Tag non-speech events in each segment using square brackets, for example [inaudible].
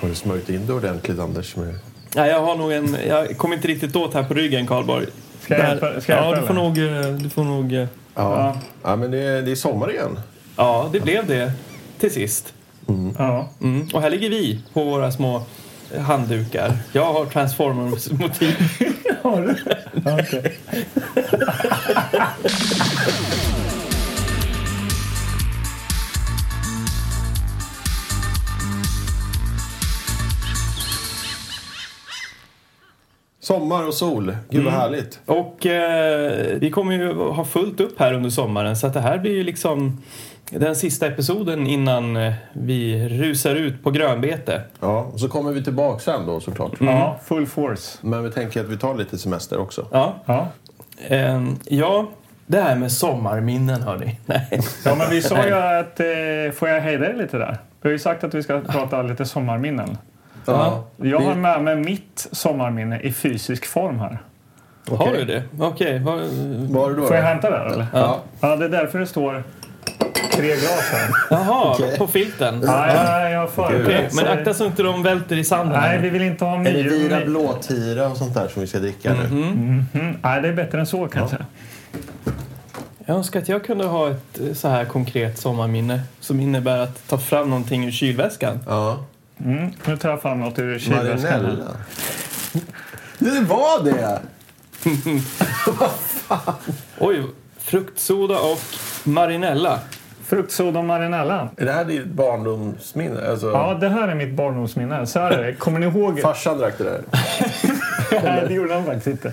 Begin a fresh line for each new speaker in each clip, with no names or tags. Har du smörjt in det ordentligt, Anders? Med...
Nej, jag har nog en... Jag kommer inte riktigt åt här på ryggen, Karlborg.
Ska jag hjälpa- ska jag
ja,
hjälpa
du får
eller?
nog... eh, Du får nog eh,
Ja. ja, men det är, det är sommar igen.
ja, det blev det till sist.
Ja.
Mm. Och här ligger vi på våra små handdukar. Jag har Transformers-motiv.
Har du? Ja, okej.
Sommar och sol. Gud,
Mm.
vad härligt.
Och eh, vi kommer ju ha fullt upp här under sommaren så att det här blir ju liksom den sista episoden innan eh, vi rusar ut på grönbete.
Ja, och så kommer vi tillbaka sen då såklart.
Mm.
ja, full force.
Men vi tänker att vi tar lite semester också.
Ja,
Ja.
eh, ja det här med sommarminnen hörni. [laughs] Nej.
ja, men vi sa ju att... Eh, får jag hejda dig lite där? Vi har ju sagt att vi
Ah.
ska prata lite sommarminnen.
Ja.
Jag har med mig mitt sommarminne i fysisk form här.
Har du det? Okej. vad-
Var det då?
Får jag
då?
hämta det här, eller?
Ja.
Ja, det är därför det står tre glas här.
Jaha, på filten.
Nej, nej, jag har förberett.
Men akta så inte de välter i sanden.
Nej, vi vill inte ha
Är det vira
myror.
blåtira och sånt där som vi ska dricka
Mhm.
nu?
Nej, det är bättre än så kanske.
Jag önskar att jag kunde ha ett eh, så här konkret sommarminne som innebär att ta fram någonting ur kylväskan.
Ja.
Mm. Nu tar jag fram något ur kylväskan. här.
Marinella. [laughs] Det var det!
Oj, fruktsoda och marinella.
Fruktsoda och marinella.
Är det här ditt barndomsminne? Alltså,
Ja, det här är mitt barndomsminne. Så här är det. Kommer ni ihåg...
Farsan drack det där.
Nej, det gjorde han faktiskt inte.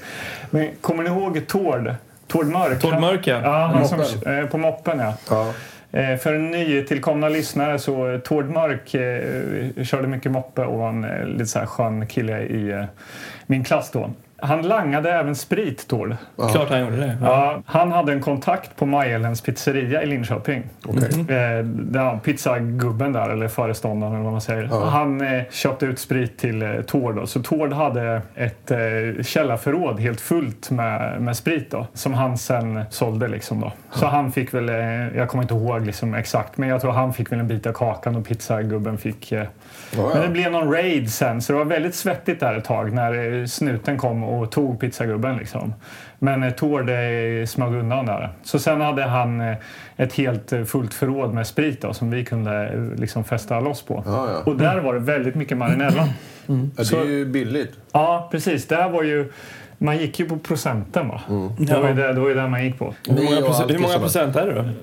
Men kommer ni ihåg Tord? Tord Mörk?
Tord Mörk, ja.
ja han som,
Moppen.
eh, på moppen, ja.
Ja.
Eh, För nytillkomna lyssnare så eh, Tord Mörk eh, körde mycket moppe och var en eh, lite så här skön kille i eh, min klass då. Han langade även sprit, Tord.
Klart han gjorde det.
Ja, han hade en kontakt på Majelens pizzeria i Linköping.
Okej.
Eh, där pizzagubben där, eller föreståndaren eller vad man säger. Han eh, köpte ut sprit till eh, Tord. Då. Så Tord hade ett eh, källarförråd helt fullt med, med sprit då, som han sen sålde. Liksom, då. Så han fick väl, eh, jag kommer inte ihåg liksom, exakt, men jag tror han fick väl en bit av kakan och pizzagubben fick... Eh,
Ja,
men det
ja.
blev någon raid sen, så det var väldigt svettigt där ett tag när eh, snuten kom och tog pizzagubben. Liksom. Men eh, Tord eh, smög undan där. Så sen hade han eh, ett helt eh, fullt förråd med sprit då, som vi kunde eh, liksom fästa loss på.
Ja, ja.
Och där var det väldigt mycket marinella.
Ja, det är ju billigt.
ja, precis. Det här var ju... Man gick ju på procenten va? Det, var ju det, det var ju det man gick på.
Hur många,
Vi och
procent, hur många
alkisarna.
procent är det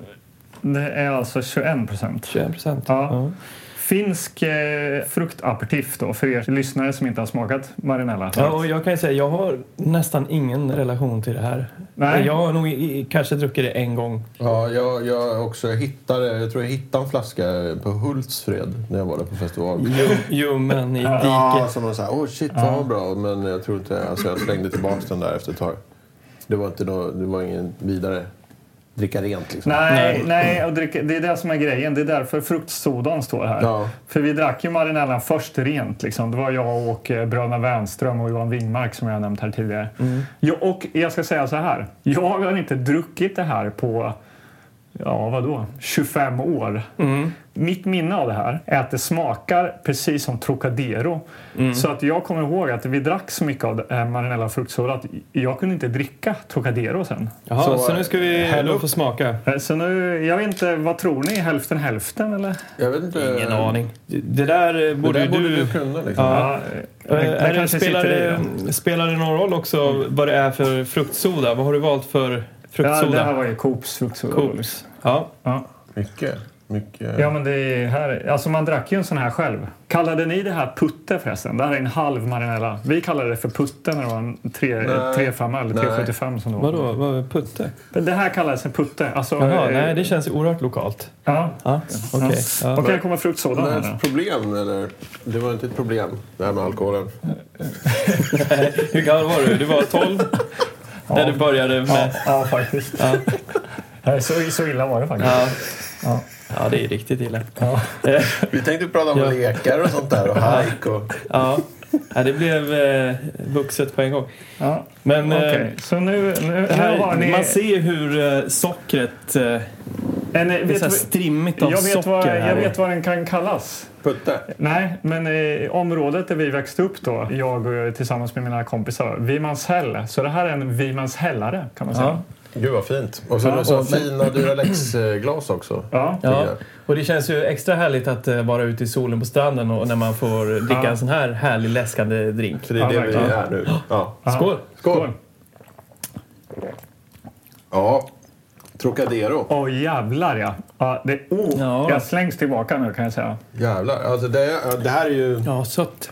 då?
Det är alltså 21 procent.
21 procent.
Ja. Finsk eh, fruktaperitif då, för er lyssnare som inte har smakat marinella.
Ja, och jag kan ju säga, jag har nästan ingen relation till det här.
Nej.
Jag har nog i, i, kanske druckit det en gång.
Ja, jag, jag också hittade, jag tror jag hittade en flaska på Hultsfred när jag var där på festival.
Ljummen i
Ja,
diket.
som de sa, åh shit vad bra, men jag tror inte, alltså jag slängde tillbaka den där efter ett tag. Det var inte nå, det var ingen vidare dricka rent liksom.
Nej, nej och dricka, det är det som är grejen. Det är därför fruktsodan står här.
Ja.
För vi drack ju marinellan först rent. Liksom. Det var jag och eh, bröderna Wernström och Johan Wingmark som jag har nämnt här tidigare. Jo, och jag ska säga så här. Jag har inte druckit det här på, ja vadå, 25 år. Mitt minne av det här är att det smakar precis som Trocadero. Så att jag kommer ihåg att vi drack så mycket av det- eh, marinella fruktsoda att jag kunde inte dricka Trocadero sen.
Jaha, så,
Så,
nu ska vi
häll
då
upp.
få smaka.
Eh, Så nu, jag vet inte, vad tror ni? Hälften hälften eller?
Jag vet inte.
Ingen aning. Det det där eh,
Det
borde
där
ju
borde
du...
du kunna liksom.
Ja,
Eh, är det,
kanske
spelar,
sitter i
det,
det.
spelar det någon roll också vad det är för fruktsoda? Vad har du valt för
Ja, det
fruktsoda?
här var ju Coops fruktsoda.
Coops. Ja.
Ja.
Mycket, mycket.
ja, men det är här. Alltså man drack ju en sån här själv. Kallade ni det här putte förresten? Det här är en halv marinella. Vi kallade det för putte när det var en tre-
Nej.
3,5 eller
Nej.
3,75 som det var.
Vadå? Vad, putte?
Men Det här kallades en putte. Alltså,
Jaha,
eh,
nej, det känns ju oerhört lokalt.
ja.
Ja, okej.
Okej,
Ja.
okay, kommer fruktsodan
Det
här
här är
nu.
ett problem eller? Det var inte ett problem, det här med alkoholen.
Hur gammal var du? Du var
[laughs]
12 när du började med...
Ja, faktiskt. Nej, Så, så illa var det faktiskt.
Ja. Ja, det är riktigt illa.
Vi tänkte prata om lekar och sånt där och hajk och...
Ja. Ja, det blev eh, vuxet på en gång.
Ja.
Men eh,
Okej, så nu, nu,
det
nu har
här,
ni...
man ser hur eh, sockret eh,
En, eh,
Det är
vet
så här
vad-
strimmigt av
jag, vet
socker.
vad,
här.
jag vet vad den kan kallas.
Putte.
Nej, men eh, i området där vi växte upp då, jag och, eh, tillsammans med mina kompisar, Vimanshäll. Så det här är en Vimanshällare kan man säga.
Ja.
Gud vad fint. Och sen
Ja,
så
och-
fina Duralex-glas också.
Ja.
Ja.
jag.
Och det känns ju extra härligt att eh, vara ute i solen på stranden och när man får dricka
Ja.
en sån här härlig läskande drink.
För det är
Ja,
det vi
verkligen.
är nu. Ja.
Skål!
Skål! Ja. Trocadero.
Åh jävlar ja. ja, det, oh,
Ja.
Jag slängs tillbaka nu kan jag säga.
Jävlar. Alltså det, är- det här är ju...
Ja, sött.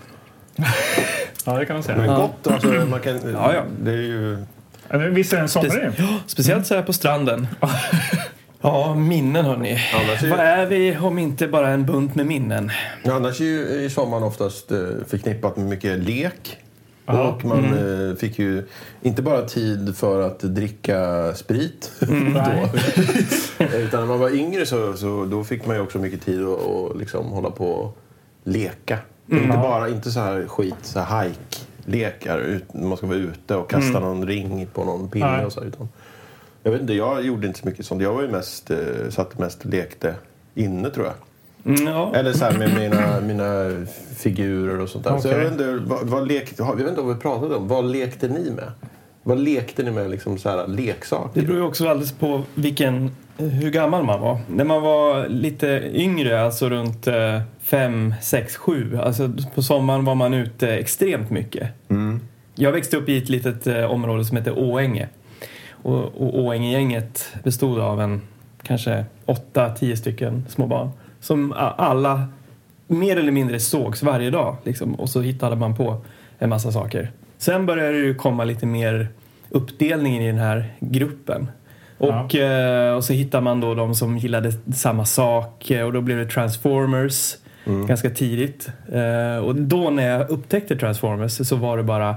Ja, det kan man säga.
Men gott alltså. Man kan,
Ja, ja.
Det är ju...
Ja, nu Visst är den somrig?
Ja, Speciellt så här på stranden. [laughs] typ. Ja, minnen hörni.
Annars är ju-
Vad är vi om inte bara en bunt med minnen?
Ja, Annars är ju är sommaren oftast eh, förknippat med mycket lek.
Ja. Mm.
Och man eh, fick ju inte bara tid för att dricka sprit. [laughs]
Mm, Nej.
Utan när man var yngre så, så då fick man ju också mycket tid att att liksom hålla på och leka.
Mm.
Inte bara inte så här skit, så här hajklekar. ut- när Man ska vara ute och kasta någon ring på någon pinne
Mm. Nej.
och så här, utan Jag vet inte, jag gjorde inte så mycket sånt. Jag var ju mest, eh, satt mest och lekte inne tror jag.
Mm, Ja.
Eller så här med mina, mina figurer och sånt där. Så jag
Okej.
vet inte, vad, vad lekte, jag vet inte vad vi pratade om. Vad lekte ni med? Vad lekte ni med liksom så här leksaker?
Det beror ju också alldeles på vilken, hur gammal man var. När man var lite yngre, alltså runt 5, 6, 7. Alltså på sommaren var man ute extremt mycket. Jag växte upp i ett litet eh, område som heter Åänge. Och, och Åängegänget bestod av en kanske 8-10 stycken små barn. Som a- alla mer eller mindre sågs varje dag. Liksom. Och så hittade man på en massa saker. Sen började det ju komma lite mer uppdelning i den här gruppen. Och, eh, och så hittar man då de som gillade samma sak eh, och då blev det Transformers
Mm.
ganska tidigt. Eh, och då när jag upptäckte Transformers så var det bara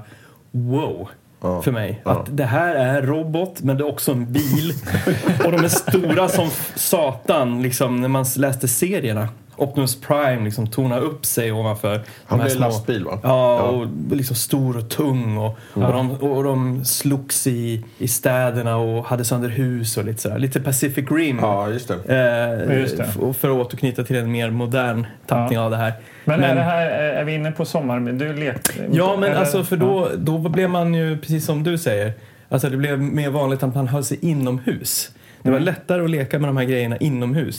wow
Ja.
för mig.
Ja.
Att det här är robot men det är också en bil. [laughs] och de är stora som satan liksom när man läste serierna. Optimus Prime liksom tornar upp sig ovanför
Han
de här
blev
små-
lastbil va?
Ja, och liksom stor och tung. Och, och, de, och de slogs i, i städerna och hade sönder hus och lite sådär. Lite Pacific Rim.
Ja, just det.
Eh,
just det.
f- och för att återknyta till en mer modern tappning av det här.
Men, Är,
Men-
det här, är vi inne på sommar? Du lekte?
Ja, men
eller-
alltså för då, då blev man ju, precis som du säger, alltså det blev mer vanligt att man höll sig inomhus. Det var lättare att leka med de här grejerna inomhus.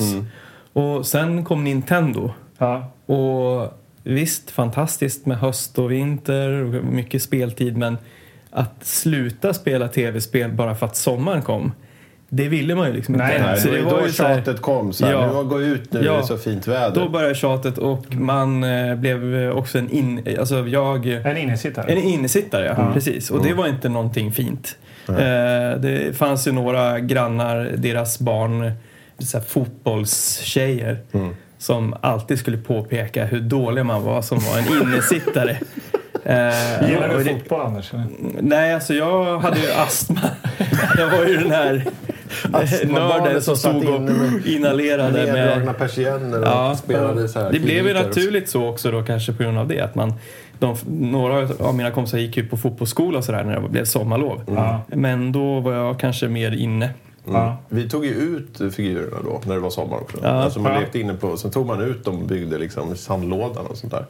Och sen kom Nintendo.
Ja.
Och visst, fantastiskt med höst och vinter och mycket speltid men att sluta spela tv-spel bara för att sommaren kom, det ville man ju liksom
Nej,
inte.
Nej,
Så
det var ju då
så här-
tjatet kom. Så här,
Ja.
Nu var gå ut nu,
Ja.
det är så fint väder.
Då började tjatet och man eh, blev eh, också en in... Alltså jag...
En innesittare?
En innesittare, ja. Precis. Och det var inte någonting fint. Eh, det fanns ju några grannar, deras barn, så här fotbollstjejer som alltid skulle påpeka hur dålig man var som var en innesittare. Eh,
Gillar
och
du
det-
fotboll Anders? eller?
Nej, alltså jag hade ju astma. Jag var ju den här nörden
Astmabarnet
som
som satt
stod och
inne med-
inhalerade med
Neddragna persienner och spelade så här.
det blev ju
filmkör.
naturligt så också då kanske på grund av det. Att man, de, några av mina kompisar gick ju på fotbollsskola och sådär när det blev sommarlov.
Mm. Ja.
Men då var jag kanske mer inne.
Ja.
Vi tog ju ut figurerna då, när det var sommar också.
Ja.
alltså man
Ja.
lekte inne på, sen tog man ut dem och byggde liksom sandlådan och sånt där.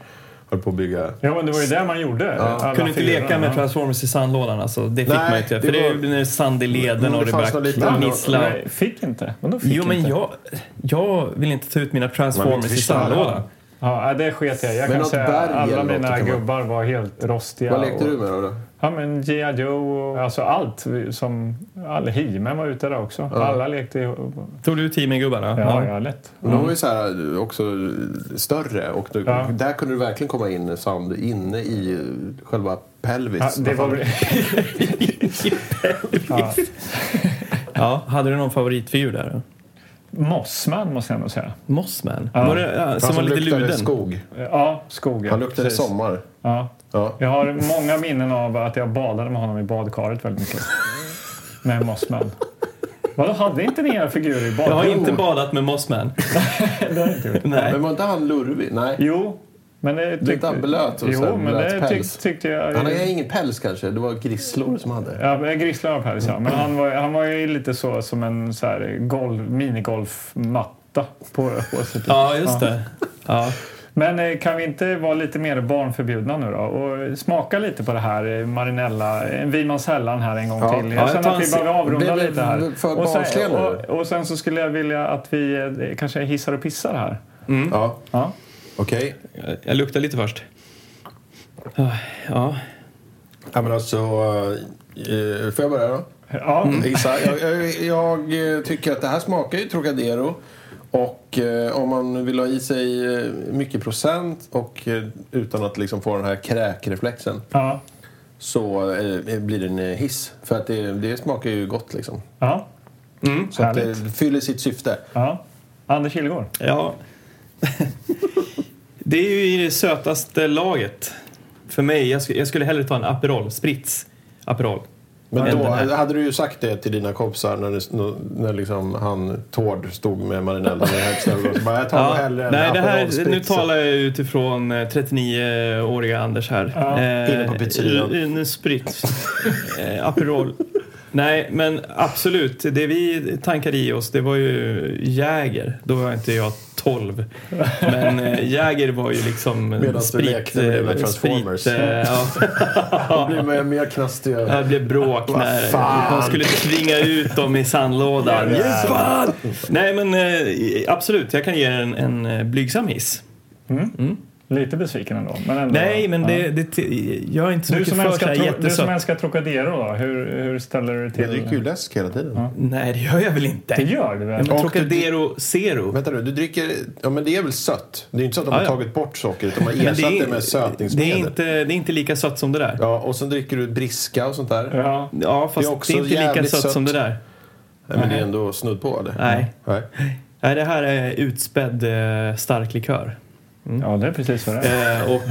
Höll på att bygga
Ja, men det var ju det man gjorde. alla
Kunde inte
figurerna.
leka med Transformers i sandlådan alltså. Det fick
Nej,
man inte. För
det
det,
var-
blev sand i leden
Men
och
det
det
fanns nog
började
lite-
knissla.
Nej, fick inte? Vadå fick
Jo men
inte?
jag, jag vill inte ta ut mina Transformers i
förstöra
sandlådan.
dem.
Ja, nej, det sket jag i. Jag
Men
kan
något
säga
berg
alla
eller något,
mina
kan man-
gubbar var helt rostiga.
Vad lekte
och-
du med då? då?
Ja, men G.I. Joe och alltså allt. vi- Som, all He-Man var ute där också. Alla lekte ihop.
Tog du Timmy-gubbarna?
Ja, ja, lätt.
De var ju så här också större och du,
Mm. Ja.
där kunde du verkligen komma in sand inne i själva pelvis.
Ja, det var... ja.
ja. Hade du någon favoritfigur där?
[laughs] Mossman måste jag nog säga.
Mossman?
Ja.
Var det, ja, som
Han
var lite
luktade
luden?
skog.
Ja, skogen.
Han luktade
precis.
sommar.
Ja.
Ja.
Jag har många minnen av att jag badade med honom i badkaret väldigt
[laughs]
mycket. Med Mossman. Vadå, hade inte ni era figurer i
Jag har [laughs]
badkaret?
inte badat med Mossman.
Det har inte vi.
Nej.
Men var inte han lurvig? Nej.
Jo, Men det tyckte,
Lite blöt och så här
Jo, men
blöt
det
päls.
tyck, tyckte jag...
Han hade ingen päls kanske. Det var grisslor som hade.
Ja, men grisslar av päls,
[clears throat]
ja. Men han var, han var ju lite så som en så här golv, minigolfmatta på håset.
Ja, just det. Ja.
Men eh, kan vi inte vara lite mer barnförbjudna nu då? Och smaka lite på det här eh, Marinella, en Wimans Hällan här en gång
Ja.
till.
Ja,
Jag
jag
känner
tar
att vi
en
behöver avrunda
Blev vi
lite här.
för
och,
barnsliga
sen,
nu?
och, och sen så skulle jag vilja att vi eh, kanske hissar och pissar här. Mm.
Ja,
Ja.
okej.
Jag- Jag luktar lite först. Ja.
Ja, men alltså... eh, får jag börja då?
Ja,
Mm.
Isa, jag, jag, jag eh, tycker att det här smakar ju Trocadero. Och eh, om man vill ha i sig eh, mycket procent och eh, utan att liksom få den här kräkreflexen
ja,
så eh, blir det en eh, hiss. För att det, det smakar ju gott liksom.
ja,
Mm.
Så att det
Härligt.
fyller sitt syfte.
ja. Anders Kilgård.
ja. Det är ju i det sötaste laget. För mig, jag, sk- jag skulle hellre ta en Aperol Spritz. Aperol.
Men
Än
då
den här.
hade du ju sagt det till dina kompisar när, det, när liksom han Tord stod med Marinella med högställda och så bara, jag tar nog
Ja.
hellre en
Nej, det här,
Aperol
nu
Spritz."
talar jag utifrån eh, 39-åriga Anders här.
Ja,
Eh,
inne på pizzerian.
i- i En sprit. eh, Aperol. Nej, men absolut. Det vi tankade i oss, det var ju Jäger. Då var inte jag 12. Men eh, Jäger var ju liksom en
Medan du
sprit...
lekte med dina
eh,
Transformers.
Sprit, eh, ja.
Då blir man ju mer knastig.
Ja, Det blev bråk när de skulle tvinga ut dem i sandlådan. Fan! Nej men eh, absolut, jag kan ge er en, en eh, blygsam hiss.
Lite besviken ändå. Men ändå
Nej men
ja.
det, det t- jag är inte så
Du
mycket
som,
för så
älskar
här
tro, du som
jättesött.
älskar Trocadero då, hur, hur ställer du
Jag
till
dricker ju läsk hela tiden.
Nej det gör jag väl
Det
inte.
gör du väl?
Men
Och
Trocadero Zero.
Vänta nu, du dricker... Ja, men det är väl sött? Det är inte så att de
Ja,
har
ja.
tagit bort socker, utan de har
Men
ersatt det,
är-
med
det, är
sötningsmedel.
inte, det är inte lika sött som det där.
Ja, och sen dricker du briska och sånt där.
Ja.
Ja fast
Det är
det
också
är, inte lika
jävligt
sött,
sött. Mm.
som det där.
Nej, men det är ändå snudd på det.
Nej.
Nej.
Nej det här är utspädd eh, stark likör.
ja, det är precis vad det är.
Eh, och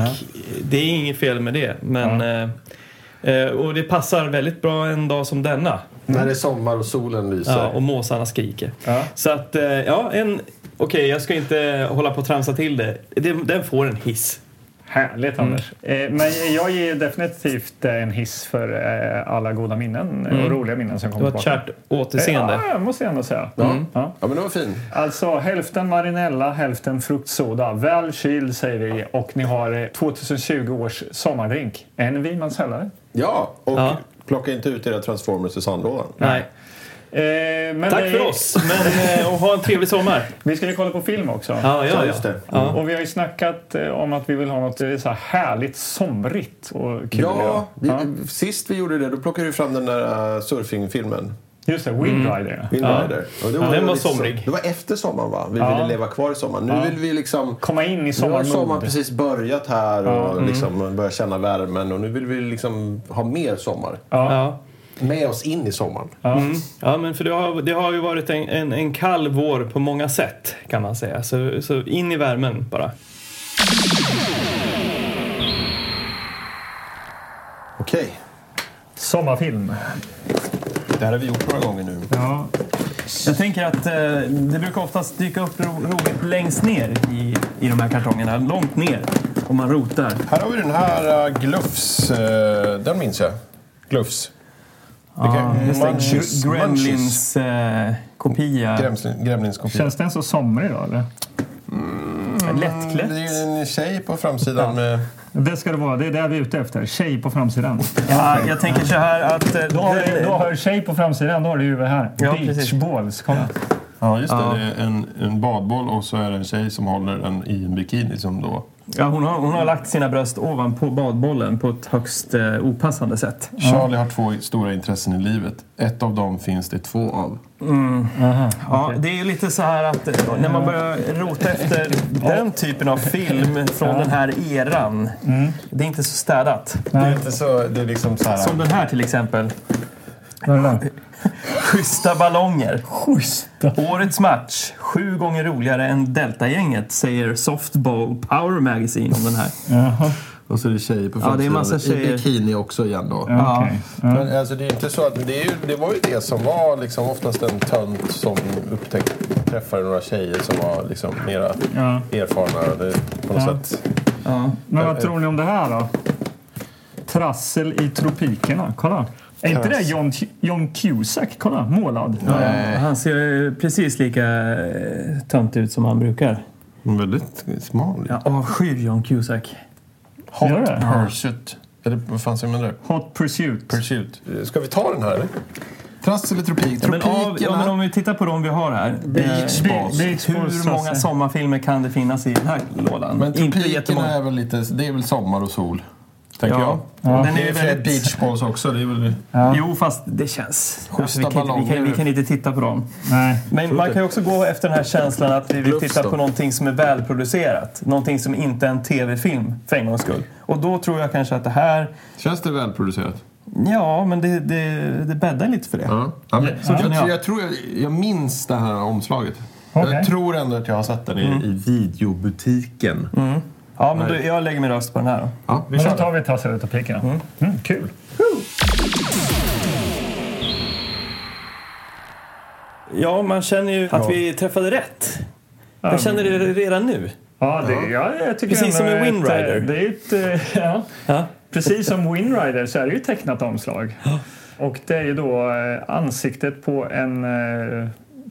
det är inget fel med det. Men, eh, eh, och det passar väldigt bra en dag som denna.
När det är sommar och solen lyser.
Ja, och måsarna skriker.
Ja.
Så att, eh, ja, en... Okej, jag ska inte hålla på och tramsa till det. Den, den får en hiss.
Härligt Anders. Eh, men jag ger definitivt eh, en hiss för eh, alla goda minnen eh, och roliga minnen som
Mm. Det
kommer
var ett
tillbaka.
kärt återseende.
Ja, måste jag ändå säga.
Mm.
Ja.
Ja, men det var fin.
Alltså hälften marinella, hälften fruktsoda. Väl kyld säger vi och ni har eh, 2020 års sommardrink. En Wimans hällare.
Ja, och
Ja.
plocka inte ut era transformers i sandlådan.
Nej.
Eh, men
Tack
eh,
för oss, men, eh, och ha en trevlig sommar. Mm.
Vi ska ju kolla på film också.
Ja, ja,
Ja,
ja.
just det.
Ja.
Och vi har ju snackat eh, om att vi vill ha något eh, så här härligt somrigt och kul.
Ja, vi,
ja.
sist vi gjorde det då plockade du fram den där äh, surfingfilmen.
Just det, Wind Rider.
Wind
Ja.
Rider. Och det
Den var
lite så-
somrig.
Det var efter sommaren va? Vi
Ja.
ville leva kvar i sommaren. Nu vill vi liksom...
Komma in i
Nu har sommaren
sommarmod.
precis börjat här och
Mm.
liksom börjar känna värmen och nu vill vi liksom ha mer sommar.
Ja.
Med oss in i sommaren.
Ja, men för det har, det har ju varit en, en, en kall vår på många sätt kan man säga. Så, så in i värmen bara.
Okej.
Sommarfilm.
Det här har vi gjort några gånger nu.
Ja.
Jag tänker att eh, det brukar oftast dyka upp ro- roligt längst ner i, i de här kartongerna. Långt ner. Om man rotar.
Här har vi den här äh, Glufs. äh, den minns jag. Glufs.
Ja, just det.
Munchies-
Gre- Gremlins eh, kopia.
Gremlin, Gremlinskopia.
Känns den så somrig då eller?
Det
Mm.
är
Lättklätt.
ju en tjej på framsidan med...
Det ska det vara, det är det vi är ute efter. Tjej på framsidan.
Ja, jag tänker så här att... eh,
Då har, du,
den-
då har du tjej på framsidan, då har du ju det här.
Ja, precis.
Beachballs. Kom.
Ja, just det. Det är en, en badboll och så är det en tjej som håller den i en bikini som då...
ja, hon, har, hon har lagt sina bröst ovanpå badbollen på ett högst eh, opassande sätt.
Charlie har två stora intressen i livet. Ett av dem finns det två av.
Ja, det är ju lite så här att eh, när man börjar rota efter den typen av film från den här eran. Det är inte så städat.
Det är inte så... Det är liksom så här...
Som den här till exempel.
Vad är det där?
Schyssta ballonger. Årets match. Sju gånger roligare än Delta-gänget, säger Softball Power Magazine om den här.
Jaha.
Och så är det tjejer på
Ja, det är
framsidan.
massa
I
tjejer.
bikini också igen då.
Ja.
okej.
Men alltså det är ju inte så att... Det, är ju, det var ju det som var liksom oftast en tönt som upptäckte träffade några tjejer som var liksom mera
Ja.
erfarna. Det, på något sätt.
Ja.
Men vad tror ni om det här då? Trassel i tropikerna. Kolla. Är inte det John, John Cusack? Kolla, målad.
Ja, Han ser precis lika eh, tönt ut som han brukar.
Väldigt smal.
Jag avskyr John Cusack.
Gör
Hot
det?
Pursuit. Eller vad fan säger man där?
Hot Pursuit.
Pursuit.
Ska vi ta den här eller?
Trass eller tropik?
Men, av, ja, men
Tropikerna.
om vi tittar på de vi har här.
Beach
eh,
Balls. Beach
Hur
Balls,
många
Lasse.
sommarfilmer kan det finnas i den här lådan?
Men
Inte
tropikerna
jättemånga.
är väl lite... Det är väl sommar och sol? Tänker jag.
Ja. Den är
Det
ju
är väldigt...
väldigt...
beachballs också. Det är väl...
Jo, fast det känns... Alltså, vi,
Schyssta
kan inte, vi, kan, vi
ballonger.
kan inte titta på dem.
Nej.
Men man kan ju också gå efter den här känslan att vi vill
Bluffs
titta
då.
på någonting som är välproducerat. Någonting som inte är en tv-film, för en gångs skull. Och då tror jag kanske att det här...
Känns det välproducerat?
Ja, men det, det, det bäddar lite för det.
Ja. ja, men,
Så
jag,
känner jag.
tror- jag tror jag, jag minns det här omslaget.
Okej.
Jag tror ändå att jag har sett den i, i videobutiken.
Ja, men då, jag lägger min röst på den här då.
Ja, vi
Men då
kör
tar
den.
vi Trassel i tropikerna. Mm, kul.
Ja, man känner ju att vi träffade rätt. Jag känner det redan nu.
Ja, det, ja. Jag tycker
Precis som
ändå
i Wind
ett, eh,
Rider.
Det är ett, eh, [laughs] ja.
Ja.
Precis som Wind Rider så är det ju ett tecknat omslag.
[gasps]
Och det är ju då eh, ansiktet på en eh,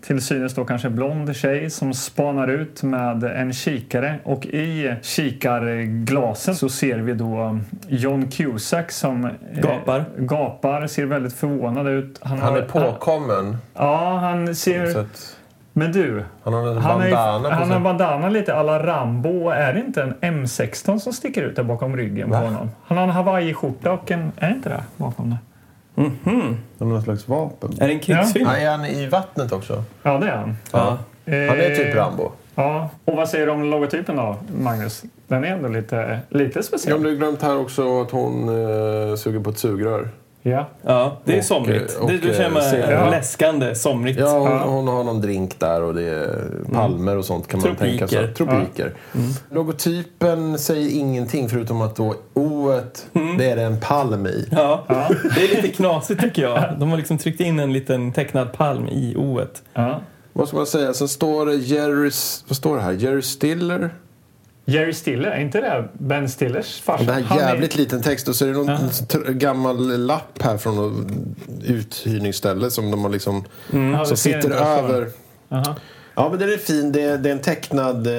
till synes då kanske blond tjej som spanar ut med en kikare och i kikarglasen så ser vi då eh, John Cusack som eh,
Gapar.
gapar, ser väldigt förvånad ut.
Han
har-
är påkommen.
Ja, han
Så
ser...
att
Men du,
han har en
han, är,
bandana på
han har
sig.
bandana lite alla Rambo. Är det inte en M16 som sticker ut där bakom ryggen på honom? Han har en hawaiiskjorta och en... Är det inte det bakom det?
Han har någon slags vapen.
Är det en krigsfilm?
Ja, är han i vattnet också?
Ja, det är han. Eh,
Ja.
Han är typ Rambo.
Ja. Och vad säger du om logotypen då, Magnus? Den är ändå lite, lite
Jag
speciell.
har glömt här också att hon eh, suger på ett sugrör.
Ja.
ja, det är
Och,
somrigt.
och,
det, du känner mig
ser-
Ja.
läskande somrigt.
Ja, hon,
Ja.
hon har någon drink där och det är palmer och sånt kan man
Tropiker.
tänka sig. Tropiker. Logotypen säger ingenting förutom att då O-et,
Mm.
det är det en palm i.
Ja. Det är lite knasigt tycker jag. De har liksom tryckt in en liten tecknad palm i O-et.
ja.
Vad ska man säga? Sen står det Jerry... S- Vad står det här? Jerry Stiller?
Jerry Stiller, är inte det Ben Stillers
Och
farsa?
Det här
Han är-
jävligt liten text och så är det någon tr- gammal lapp här från något uthyrningsställe som de har liksom...
Mm. Ja, det
som
ser
sitter
inte jag för.
över...
Aha.
Ja, men den är fin. Det är, det är en tecknad, eh,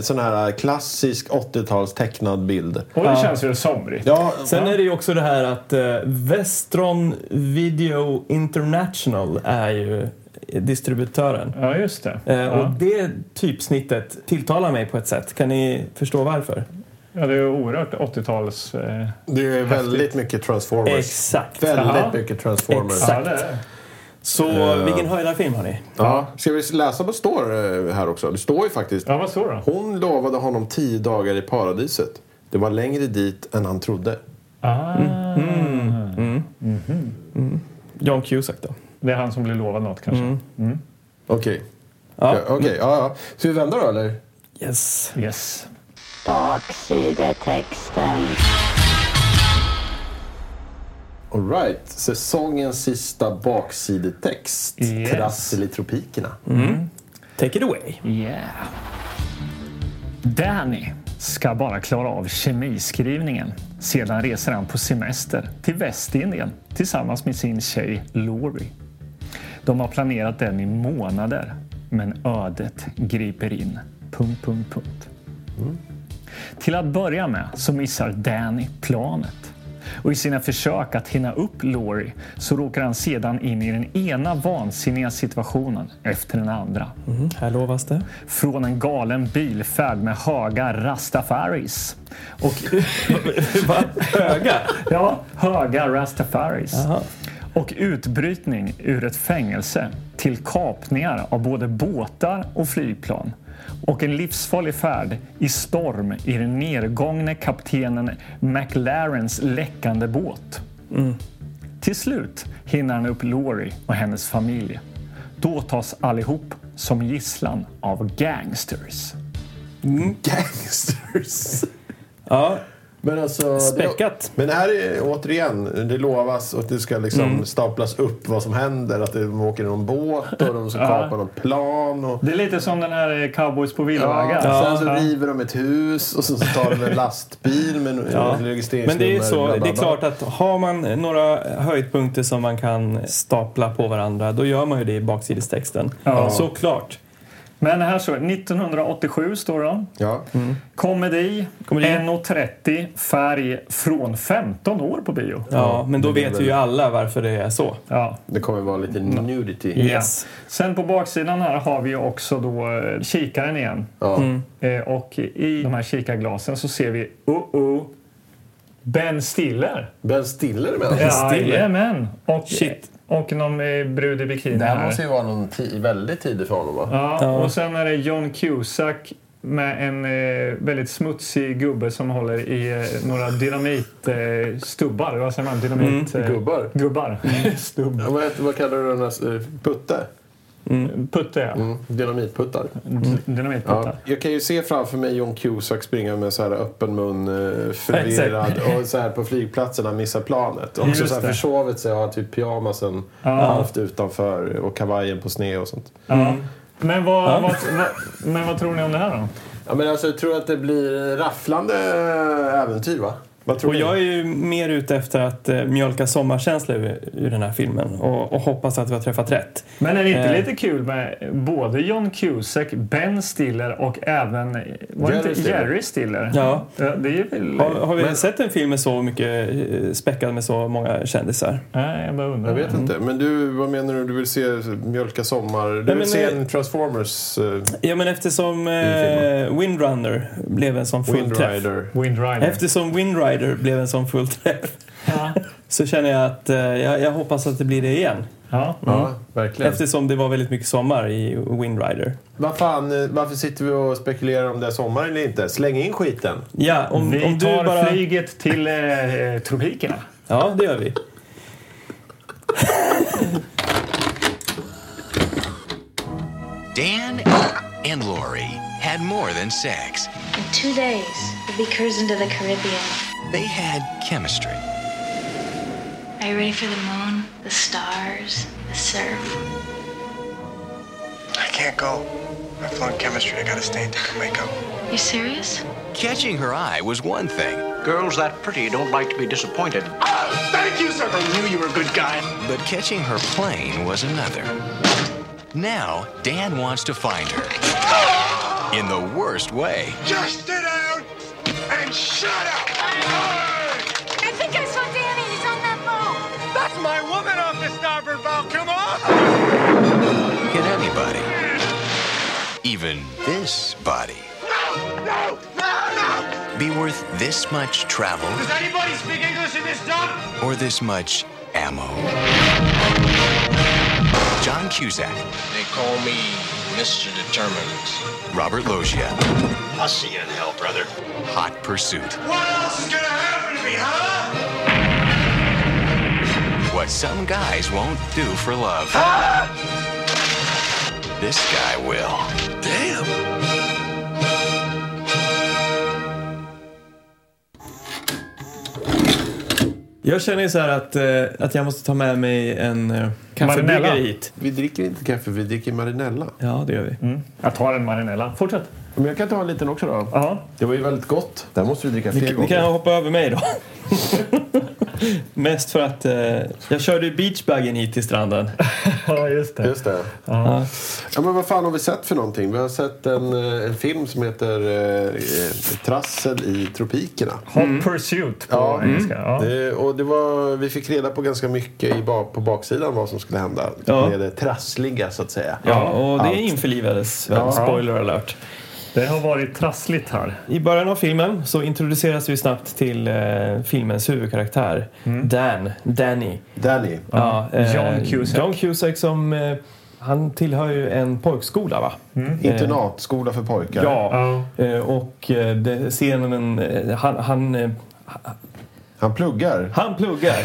sån här klassisk 80-tals tecknad bild.
Och det känns ju somrigt.
Ja,
Sen är det ju också det här att eh, Westron Video International är ju distributören.
Ja, just det.
Eh, och
Ja.
det typsnittet tilltalar mig på ett sätt. Kan ni förstå varför?
Ja, det är ju oerhört 80-tals... Eh...
Det är väldigt mycket Transformers.
Exakt.
väldigt
Jaha.
mycket Transformers.
Exakt.
Ja, det är det.
Så
Eh.
vilken höjdarfilm har ni?
Ja. Ska vi läsa vad det står eh, här också? Det står ju faktiskt
ja, vad står det då?
Hon lovade honom tio dagar i paradiset. Det var längre dit än han trodde.
Ah.
John Cusack då.
Det är han som blir lovad något kanske.
Okej. Ja. Okej, ja, ja. Ska vi vända då eller?
Yes.
Yes.
Baksidetexten.
Alright. Säsongens sista baksidetext.
Yes.
Trassel i tropikerna.
Take it away.
Yeah. Danny ska bara klara av kemiskrivningen. Sedan reser han på semester till Västindien tillsammans med sin tjej Lori. De har planerat den i månader, men ödet griper in. Punkt, punkt, punkt. Mm. Till att börja med så missar Danny planet. Och i sina försök att hinna upp Laurie så råkar han sedan in i den ena vansinniga situationen efter den andra.
Här lovas det.
Från en galen bilfärd med höga rastafaris. Och,
[laughs] Va? Höga?
ja, höga rastafaris. Och utbrytning ur ett fängelse till kapningar av både båtar och flygplan. Och en livsfarlig färd i storm i den nedgångne kaptenen McLarens läckande båt. Till slut hinner han upp Laurie och hennes familj. Då tas allihop som gisslan av gangsters.
Gangsters.
Ja.
Men alltså...
Späckat.
Men här är återigen, det lovas och det ska liksom
Mm.
staplas upp vad som händer. Att de åker i någon båt och de ska
Ja.
kapa någon plan. Och...
Det är lite som den här eh, Cowboys på
Ja,
villovägar.
sen så river de ett hus och så tar de en
[laughs]
lastbil med
Ja.
ja. registreringsnummer.
Men det är ju
bla,
så,
bla,
det är
bla.
klart att har man några höjdpunkter som man kan stapla på varandra, då gör man ju det i baksidestexten.
Ja.
Såklart.
Men här så, 1987 står de.
Ja.
Mm.
Komedi,
Komedi.
1.30, färg från 15 år på bio.
Ja, men då
det är
vet
väl-
ju alla varför det är så.
Ja.
Det kommer vara lite nudity.
Yes.
Sen på baksidan här har vi också då eh, kikaren igen.
Ja.
Mm.
Eh, Och i de här kikarglasen så ser vi oh-oh, Ben Stiller.
Ben Stiller med
Ja. Stiller?
Jajamän! Och,
Shit.
och någon eh, brud i bikini
Det
här.
här måste ju vara någon ti- väldigt tidig för honom va?
Ja,
Ja.
och sen är det John Cusack med en eh, väldigt smutsig gubbe som håller i eh, några dynamitstubbar. Eh, stubbar. vad säger man?
Mm.
Dynamit... eh,
Gubbar.
Gubbar. [laughs] Stubb.
Ja, vad, heter, vad kallar du den här? eh, Putte?
Putte, ja.
Mm. Dynamitputtar.
Mm.
D- Dynamitputte.
Ja, jag kan ju se framför mig John Cusack springa med så här öppen mun,
[laughs]
eh, förvirrad och så här på flygplatserna missar planet. Också
Just
så här
det.
försovit sig och har typ pyjamasen halvt utanför och kavajen på sned och sånt.
Mm.
Ja. Men, vad, vad, vad, men vad tror ni om det här då?
Ja, men alltså, jag tror att det blir rafflande eh, äventyr va? Vad tror
Och
ni?
jag är ju mer ute efter att eh, mjölka sommarkänsla ur, ur den här filmen och, och hoppas att vi har träffat rätt.
Men är det inte
Eh.
lite kul med både John Cusack, Ben Stiller och även var det
Jerry
inte
Stiller.
Jerry Stiller?
Ja.
Det är ju väl...
Har, har vi sett en film med så mycket eh, späckad med så många kändisar?
Nej, jag bara undrar.
Jag vet
Mm.
inte. Men du, vad menar du? Du vill se Mjölka Sommar? Du
men,
vill se
eh,
en Transformers? Eh,
Ja, men eftersom
Filmer.
eh, Windrunner blev en sån full träff. Mm.
Windrider?
Wind Rider.
Eftersom Windrider blev en sån full träff
Ja.
så känner jag att eh, jag, jag hoppas att det blir det igen.
Ja.
Ja, verkligen.
Eftersom det var väldigt mycket sommar i Windrider.
Vad fan, eh, varför sitter vi och spekulerar om det är sommar eller inte? Släng in skiten!
Ja, om,
Vi
om du
tar
bara...
flyget till eh, eh, tropikerna.
Ja, det gör vi.
Dan and Lori had more than sex.
In two days, we'll be cruising to the Caribbean.
They had chemistry.
Are you ready for the moon, the stars, the surf?
I can't go. I flunked chemistry. I gotta stay and take a makeup.
You serious?
Catching her eye was one thing,
Girls that pretty don't like to be disappointed.
Oh, Thank you, sir. I knew you were a good guy.
but catching her plane was another. Now, Dan wants to find her. In the worst way.
Just sit down and shut up.
I think I saw Danny. He's on that boat.
That's my woman off the starboard bow. Come on.
Hit anybody. Even this body.
No, Oh, no, no, no.
Be worth this much travel
Does anybody speak English in this dump?
or this much ammo. John Cusack,
They call me Mr. Determined.
Robert Loggia,
I'll see you in hell, brother.
Hot Pursuit.
What else is gonna happen to me, huh?
What some guys won't do for love. This guy will.
Damn.
Jag känner ju så här att, eh, att jag måste ta med mig en eh,
Marinella.
kaffebryggare hit.
Vi dricker inte kaffe, vi dricker marinella.
Ja, det gör vi.
Mm.
Jag tar en marinella. Fortsätt.
Men jag kan ta en liten också då.
Ja.
Det var ju väldigt gott. Där måste vi dricka fler
Ni
gånger.
kan hoppa över mig då. [laughs] Mest för att eh, jag körde beachbaggen hit till stranden.
ja, just det.
Just det. Ja, men vad fan har vi sett för någonting? Vi har sett en, eh, en film som heter eh, eh, Trassel i tropikerna.
Hot Pursuit på
Mm.
Ja,
engelska. Mm. Ja. Mm.
Det, och det var, vi fick reda på ganska mycket i, ba- på baksidan vad som skulle hända.
Ja.
Med det trassliga så att säga.
Ja, och det
Allt.
införlivades väl.
Ja.
Spoiler alert.
Det har varit trassligt här.
I början av filmen så introduceras vi snabbt till eh, filmens huvudkaraktär.
Mm.
Dan, Danny.
Danny.
Ja, eh,
eh, John Cusack.
John Cusack som... Eh, han tillhör ju en pojkskola va?
Internatskola för pojkar.
Ja. Eh, och eh, det, scenen... Eh, han, han, eh,
Han pluggar.
han
[laughs]
pluggar.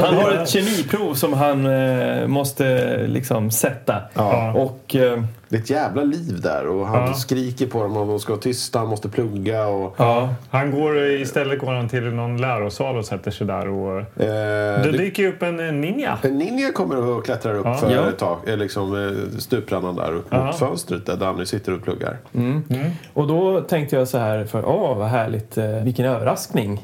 han har ett kemiprov som han eh, måste liksom sätta.
Ja.
Och eh,
Det är ett jävla liv där och han
Ja.
skriker på dem och de ska vara tysta, han måste plugga och...
Ja.
Han går, eh, istället går han till någon lärosal och sätter sig där. Och,
Eh,
det
det-
dyker ju upp en eh, ninja.
en ninja kommer och klättrar upp
Ja.
för
Ja.
ett tak, eh, liksom, eh, stuprännan där upp
Ja.
mot fönstret där Danny sitter och pluggar.
Och då tänkte jag så här, för åh vad härligt, eh, vilken överraskning.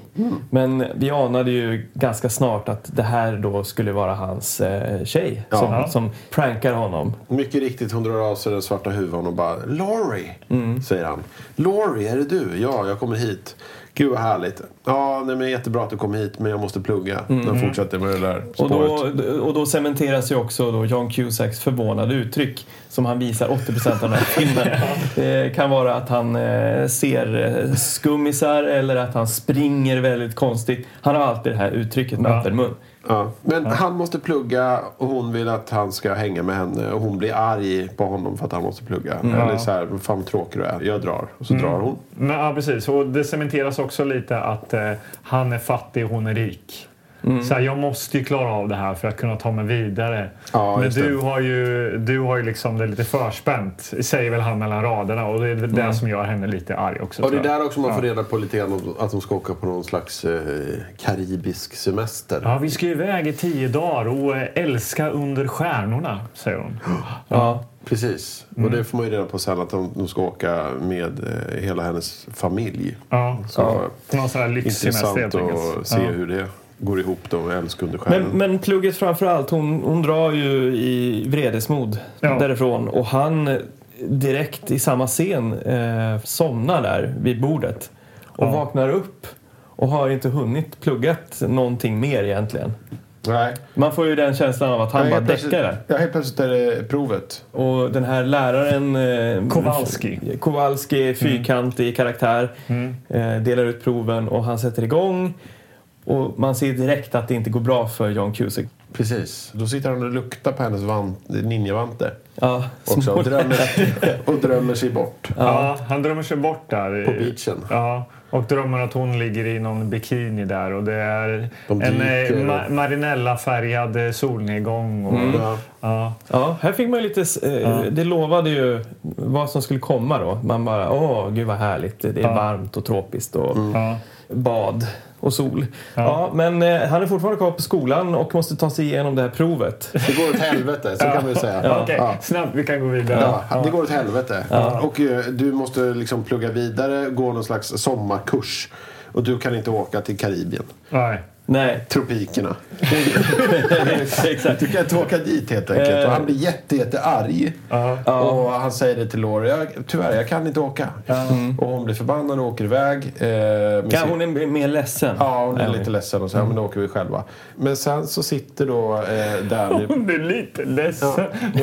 Men vi anade ju ganska snart att det här då skulle vara hans eh, tjej
Ja.
som, som prankar honom.
Mycket riktigt, hon drar av sig den svarta huvan och bara Laurie, säger han. Laurie, är det du? Ja, jag kommer hit. Gud vad härligt. Ja, nej, men jättebra att du kom hit, men jag måste plugga. Den fortsätter med det där
Och
spåret.
då, och då cementeras ju också då John Cusacks förvånade uttryck som han visar 80% av den här
[laughs]
filmen. Det kan vara att han eh, ser eh, skummisar eller att han springer väldigt konstigt. Han har alltid det här uttrycket med
Ja.
öppen mun.
Ja. Men han måste plugga och hon vill att han ska hänga med henne och hon blir arg på honom för att han måste plugga. Eller så här, "Vad fan vad tråkig du är. Jag drar. Och så drar hon.
Men, ja, precis. Och det cementeras också lite att eh, han är fattig och hon är rik.
Mm.
Så här, jag måste ju klara av det här för att kunna ta mig vidare.
Ja,
Men
just det.
du har, ju, du har ju liksom det lite förspänt, säger väl han mellan raderna. Och det är väl det som gör henne lite arg också.
Och det är
tror jag.
Mm. där också man får reda på lite grann om att de ska åka på någon slags eh, karibisk semester.
Ja, vi ska ju iväg i tio dagar och eh, älska under stjärnorna, säger hon.
Ja.
Precis.
Mm.
Och det får man ju reda på sen att de, de ska åka med eh, hela hennes familj.
Ja.
Så
På någon sån här lyxsemester
intressant
helt
att
enkelt.
se hur det går ihop då med Älsk under
Men,
stjärnan.
men plugget framför allt, hon, hon drar ju i vredesmod
Ja.
därifrån och han eh, direkt i samma scen eh, somnar där vid bordet och
Ja.
vaknar upp och har inte hunnit pluggat någonting mer egentligen.
Nej.
Man får ju den känslan av att han
Nej,
bara
helt plötsligt-
däckar där.
Ja, helt plötsligt är det provet.
Och den här läraren eh,
Kowalski.
Kowalski, fyrkantig karaktär, eh, delar ut proven och han sätter igång. Och man ser direkt att det inte går bra för John Cusick.
Precis. Då sitter han och luktar på hennes vant, ninjavante.
Ja,
Också,
små-
och, drömmer, och drömmer sig bort.
Ja, han drömmer sig bort där.
På beachen.
Ja, och drömmer att hon ligger i någon bikini där och det är
De
en
dyker
eh,
och-
ma- marinella-färgad eh, solnedgång. Och,
Ja.
ja.
Ja, här fick man ju lite... Eh, Det lovade ju vad som skulle komma då. Man bara, åh gud vad härligt. Det är varmt och tropiskt och
Ja.
bad och sol. Ja. men eh, han är fortfarande kvar på skolan och måste ta sig igenom det här provet.
Det går åt helvete, så kan vi säga.
Okej, snabbt. Vi kan gå vidare.
Ja, det går åt helvete. Och eh, du måste liksom plugga vidare, gå någon slags sommarkurs. Och du kan inte åka till Karibien.
Nej.
Nej,
[laughs] Tropikerna.
exakt.
Du kan inte åka dit helt enkelt. Och han blir jätte, jätte arg. Och han säger det till Laurie. Jag, tyvärr, jag kan inte åka. Och hon blir förbannad och åker iväg. Eh, med
Ja,
sin-
hon är mer ledsen.
Ja, hon är lite ledsen och så, ja, men då åker vi själva. Men sen så sitter då eh, Danny [laughs]
Hon blir lite ledsen.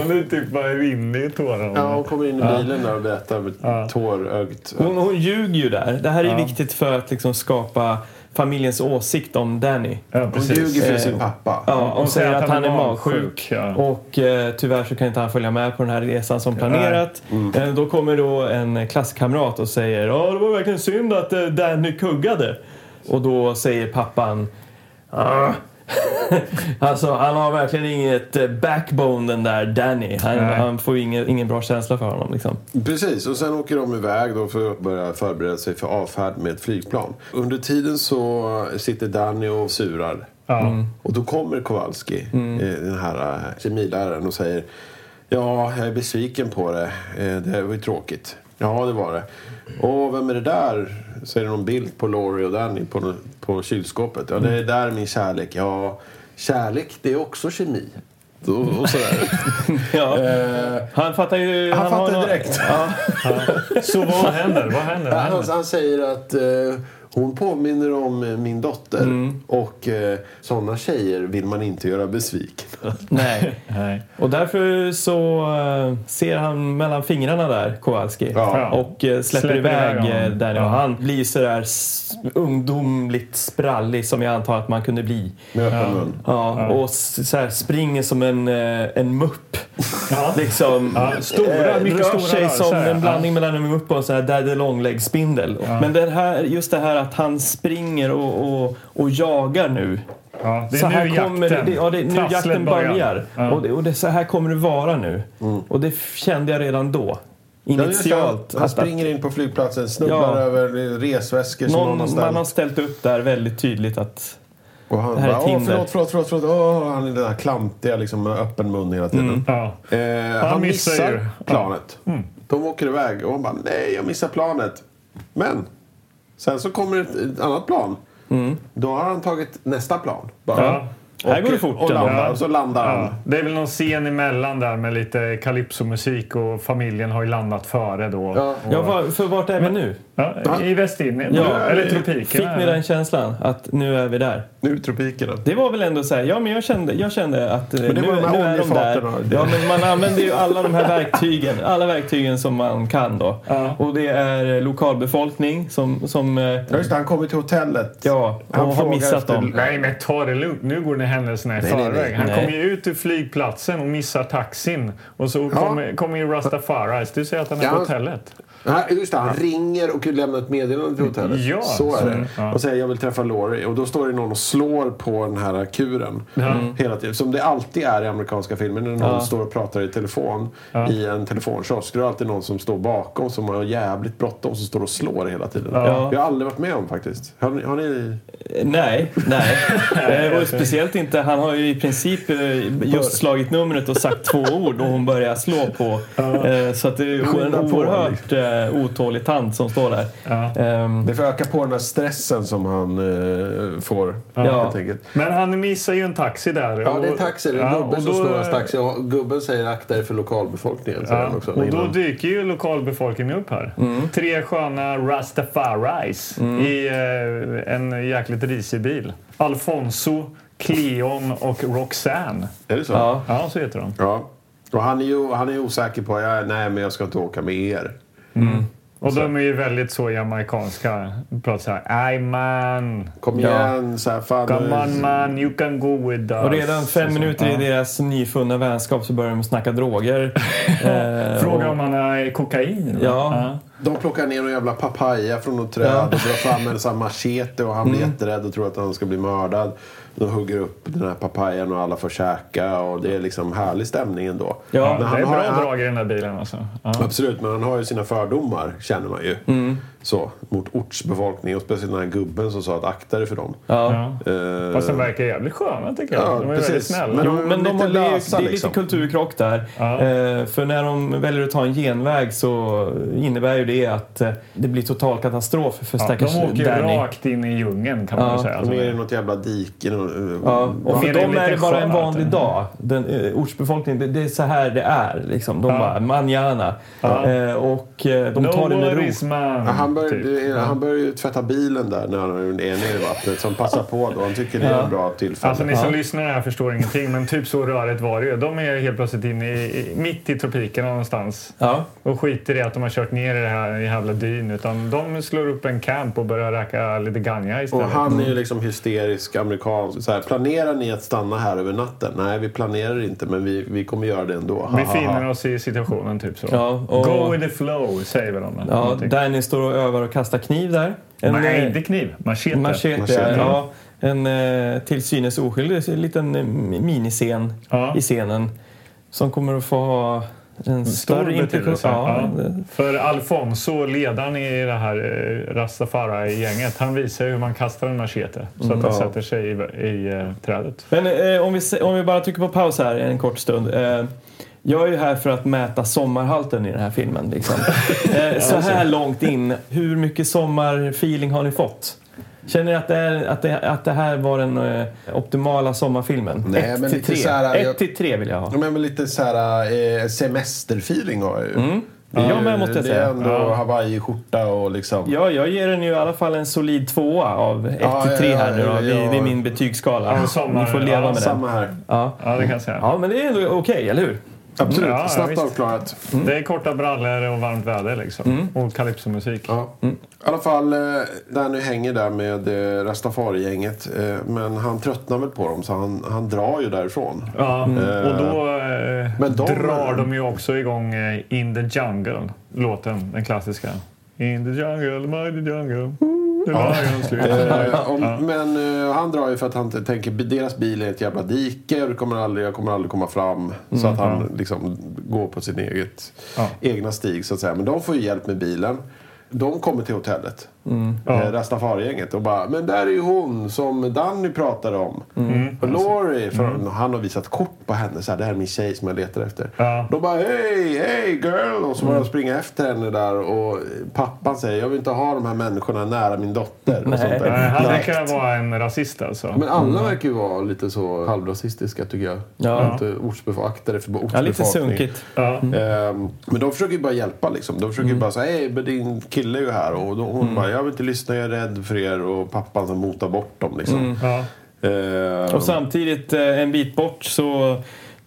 Hon är typ bara rinner i tårarna.
Ja, hon kommer in i bilen där och berättar med tårögt.
Hon, hon ljuger ju där. Det här är viktigt för att liksom skapa familjens åsikt om Danny.
Ja,
Hon
precis.
ljuger för sin pappa.
Ja, och säger att, han är magsjuk.
ja.
Och eh, tyvärr så kan inte han följa med på den här resan som planerat. Eh, då kommer då en klasskamrat och säger Ja, det var verkligen synd att eh, Danny kuggade. Och då säger pappan "Ah." [laughs] Alltså han har verkligen inget eh, backbone den där Danny. Han,
Nej.
han får ingen, ingen bra känsla för honom liksom.
Precis, och sen åker de iväg då för att börja förbereda sig för avfärd med ett flygplan. Under tiden så sitter Danny och surar.
Ja.
Och då kommer Kowalski, eh, den här eh, kemiläraren, och säger Ja, jag är besviken på det. Eh, Det var ju tråkigt. Ja, det var det. Och vem är det där? Så är det någon bild på Laurie och Danny på, på kylskåpet. Ja, det är där min kärlek. Ja, kärlek, det är också kemi. Och, och sådär. [laughs]
Ja.
Eh,
Han fattar ju...
han,
har
fattar
nå-
direkt.
Så vad händer? Vad händer? Vad
[laughs] Han,
händer?
han säger att eh, hon påminner om eh, min dotter.
Mm.
Och eh, sådana tjejer vill man inte göra besviken.
Nej.
Nej.
Och därför så eh, ser han mellan fingrarna där, Kowalski.
Ja.
Och eh, släpper,
Släpper
iväg
iväg honom.
eh, Danny.
Ja.
Och han blir sådär s- ungdomligt sprallig som jag antar att man kunde bli.
Med öppen mun.
Ja, Och s- så här springer som en, eh, en mupp.
Ja.
Liksom,
Ja, stora, mycket
rör
stora
sig
rörelser.
som en
Ja.
blandning mellan en mupp och en sån här daddy långläggsspindel. Men det här, just det här att han springer och, och, och jagar nu.
Ja, det är
så
nu
här
jakten,
kommer, det, ja, det, är nu
trasslet
jakten börjar.
börjar. Ja.
Och, det, och det, så här kommer det vara nu. Och det kände jag redan då.
Mm. Ja, just det.
Initialt.
Han
att- att-
springer in på flygplatsen, snubblar
Ja.
över resväskor som någon,
Någon,
har
man har
ställt.
ställt upp där väldigt tydligt att...
Och han
det här är
bara,
ett
"Åh,
hinder."
förlåt, förlåt, förlåt, förlåt. Åh, han är den där klantiga liksom, med öppen mun hela tiden.
Mm.
Ja.
Eh, han,
Han missar
missar
ju. Ja. Mm.
planet. De åker iväg och han bara, nej jag missar planet. Men sen så kommer ett, ett annat plan. Då har han tagit nästa plan. Bara.
Ja.
Mm. Här går det fort
Och,
ändå.
landar,
Ja.
och så landar
Ja,
han.
det är väl någon scen emellan där med lite calypso-musik och familjen har ju landat före då.
Ja.
Ja, var, för vart är vi nu?
Ja, I Västindien,
Ja.
eller tropikerna.
Fick ni den känslan? Att nu är vi där?
Nu i tropikerna.
Det var väl ändå så här, ja men jag kände, jag kände att eh,
det
nu,
var de här
nu är de där.
oljefaten då.
Ja, men man använder ju alla de här verktygen, alla verktygen som man kan då.
Ja.
Och det är eh, lokalbefolkning som, som eh,
Ja, just det, han kommer till hotellet.
ja,
Han
och har
frågar
missat
efter-
dem.
Nej, men ta det lugnt. Nu går ni händelserna i förväg.
nej, nej.
Han
Nej.
kommer ju ut ur flygplatsen och missar taxin. Och så kommer, kommer ju Rastafari. Du säger att han är
Ja.
på hotellet.
Nej, just det, han ringer och lämnar ett meddelande till hotellet.
Ja,
så är det.
så- ja.
Och säger jag vill träffa Laurie. Och då står det någon och slår på den här kuren. Hela tiden. Som det alltid är i amerikanska filmer. När någon står och pratar i telefon i en telefonkiosk. Då är det alltid någon som står bakom som har jävligt bråttom. Som står och slår hela tiden.
Ja.
Jag har aldrig varit med om faktiskt. Har ni... Har ni...
Eh, Nej, [laughs] nej. Eh, och speciellt inte, han har ju i princip eh, just slagit numret och sagt två ord och hon börjar slå på. Eh, Så att det är
Skynda
en
på,
oerhört eh, otålig tant som står där. Ehm,
Mm. Det får öka på den här stressen som han eh, får.
Ja.
Helt enkelt.
Men han missar ju en taxi där.
Ja,
och-
det är taxi. Det är
Ja,
en gubbe
och
som
då-
snurrar taxi. Och gubben säger akta er för lokalbefolkningen. säger
Ja,
han också, Mm.
och då
innan.
dyker ju lokalbefolkningen upp här. Tre sköna Rastafaris
Mm.
i eh, en jäkligt risig bil. Alfonso, Cleon och Roxanne.
Är det så?
Ja.
Ja, så heter de.
Ja. Och han är ju han är ju osäker på, jag, nej men jag ska inte åka med er.
Och de är ju väldigt så jamaicanska. Pratar så här, "Aj, man,
Kom
Ja.
igen, så här, fan.
come
nu-
on man, you can go with us.
Och redan fem minuter i
Ja.
deras nyfunna vänskap så börjar de snacka droger. [laughs] Eh,
Fråga
och-
om han är kokain. va?
Ja.
De plockar ner en jävla papaya från något träd och drar fram en sån här machete och han blir jätterädd och tror att han ska bli mördad. De hugger upp den här papayan och alla får käka och det är liksom härlig stämning ändå.
Ja,
Men
Det är
har-
bra
han-
drag i den där bilen alltså. Ja.
Absolut, men han har ju sina fördomar, känner man ju. Så, mot ortsbefolkningen. Och speciellt den här gubben som sa att akta dig för dem.
Ja.
Eh,
Fast de verkar jävligt sköna tycker jag.
Ja,
de är väldigt
precis.
snälla.
Men-
Jo,
de är
men de
lite
har, det, är,
lösa,
det är
liksom.
lite kulturkrock där.
Ja.
Eh, för när de väljer att ta en genväg så innebär ju det att eh, det blir total katastrof för
Ja,
stackars
de åker ju
Danny.
rakt in i djungeln kan man
Ja,
väl säga.
De
Alltså,
är i något jävla dike. någon- eh,
Ja, och för
Ja, det är
dem är
lite
det bara en
skönt,
vanlig
ja.
dag. Den, eh, ortsbefolkningen, det, det är så här det är. Liksom. De
Ja.
bara, manjana. Eh, och eh, de
no
tar det med ro.
worries, man.
Ja, Han börjar
typ.
han börjar ju tvätta bilen där när han är nere i vattnet. Så han passar på då. Han tycker det är ett bra tillfälle.
Alltså ni som lyssnar här förstår ingenting, men typ så rörigt var det ju. De är helt plötsligt inne i, i- mitt i tropikerna någonstans
Ja.
och skiter i att de har kört ner i det här jävla dyn. Utan de slår upp en camp och börjar räka lite ganja
och
istället.
han är ju liksom hysterisk amerikan. Så här, planerar ni att stanna här över natten? Nej, vi planerar inte, men vi, vi kommer göra det ändå. Ha,
Vi
ha, ha.
finner oss i situationen, typ så.
Ja, och-
Go with the flow, säger väl de.
Ja,
Någonting.
Danny står och övar och kastar kniv där. En,
Nej,
eh,
inte kniv. Machete.
Machete,
Machete.
Ja, en eh, till synes oskyldig liten eh, miniscen
Ja.
i scenen som kommer att få ha en
Stor
större implikation.
betydelse.
Ja,
Ja. För Alfonso, ledaren i det här eh, Rastafari-gänget, han visar ju hur man kastar en machete så
Mm.
att den sätter sig i, i eh, trädet.
Men eh, om, vi, se- om vi bara trycker på paus här en kort stund. Eh, jag är ju här för att mäta sommarhalten i den här filmen.
[laughs]
Liksom. Eh, så här långt in, hur mycket sommarfeeling har ni fått? Känner ni att det, är, att det, att det här var den eh, optimala sommarfilmen?
Nej,
Ett
men
till
lite
tre.
så här,
Ett
jag-
till tre vill jag ha.
Ja, men lite så här eh, semesterfeeling har jag ju. Det är
Mm. Ja,
ju-
men måste jag
det
säga.
är ändå Hawaii-skjorta och liksom...
Ja, jag ger den ju i alla fall en solid tvåa av 1
Ja,
till 3
ja,
här nu då.
ja,
Det-
ja.
Det är min betygsskala.
Ja, sommar-
Ni får leva
ja,
med den.
Samma här.
Ja.
Ja, det kan jag säga.
ja, men det är ändå okej, eller hur?
Absolut.
Ja, ja,
Snabbt
visst.
avklarat.
Det är korta brallor och varmt väder liksom.
Mm.
Och calypsomusik.
Ja. I alla fall, eh, där nu hänger där med eh, Rastafari-gänget. eh, Men han tröttnar väl på dem så han, han drar ju därifrån.
Ja, och då eh,
Mm. Men de-
drar de ju också igång eh, In the Jungle, låten, den klassiska. In the jungle, my the jungle. Ooh, Ja, jag slutar.
Eh, om, Men eh, han drar ju för att han t- tänker "Bi- deras bil är ett jävla dike och det kommer aldrig, jag kommer aldrig komma fram. Så att han liksom går på sin eget,
Mm. Ja.
egna stig så att säga. Men de får ju hjälp med bilen. De kommer till hotellet,
Mm. Ja.
eh, Rastafari-gänget och bara “Men där är ju hon som Danny pratade om.
Mm.
Och Lori, för han har visat kort på henne. Så här, det här är min tjej som jag letar efter.
Ja. Mm.
De bara “Hej, hej girl!” och så börjar de springa efter henne där. Och pappan säger “Jag vill inte ha de här människorna nära min dotter” och sånt där.
Nej, Han
Direkt.
Eh, verkar vara en rasist alltså.
Eh, Men alla verkar ju vara lite så halvrasistiska tycker jag.
Ja.
Inte ortsbevaktare för ortsbefolkning.
Ja, lite sunkigt.
Ja.
Ehm, men de försöker ju bara hjälpa liksom. De
Mm.
försöker ju bara säga hej, men din kille är ju här. Och då, hon bara, jag vill inte lyssna, jag är rädd för er. Och pappan som motar bort dem liksom.
Ja.
Ehm,
Mm. Och samtidigt eh, en bit bort så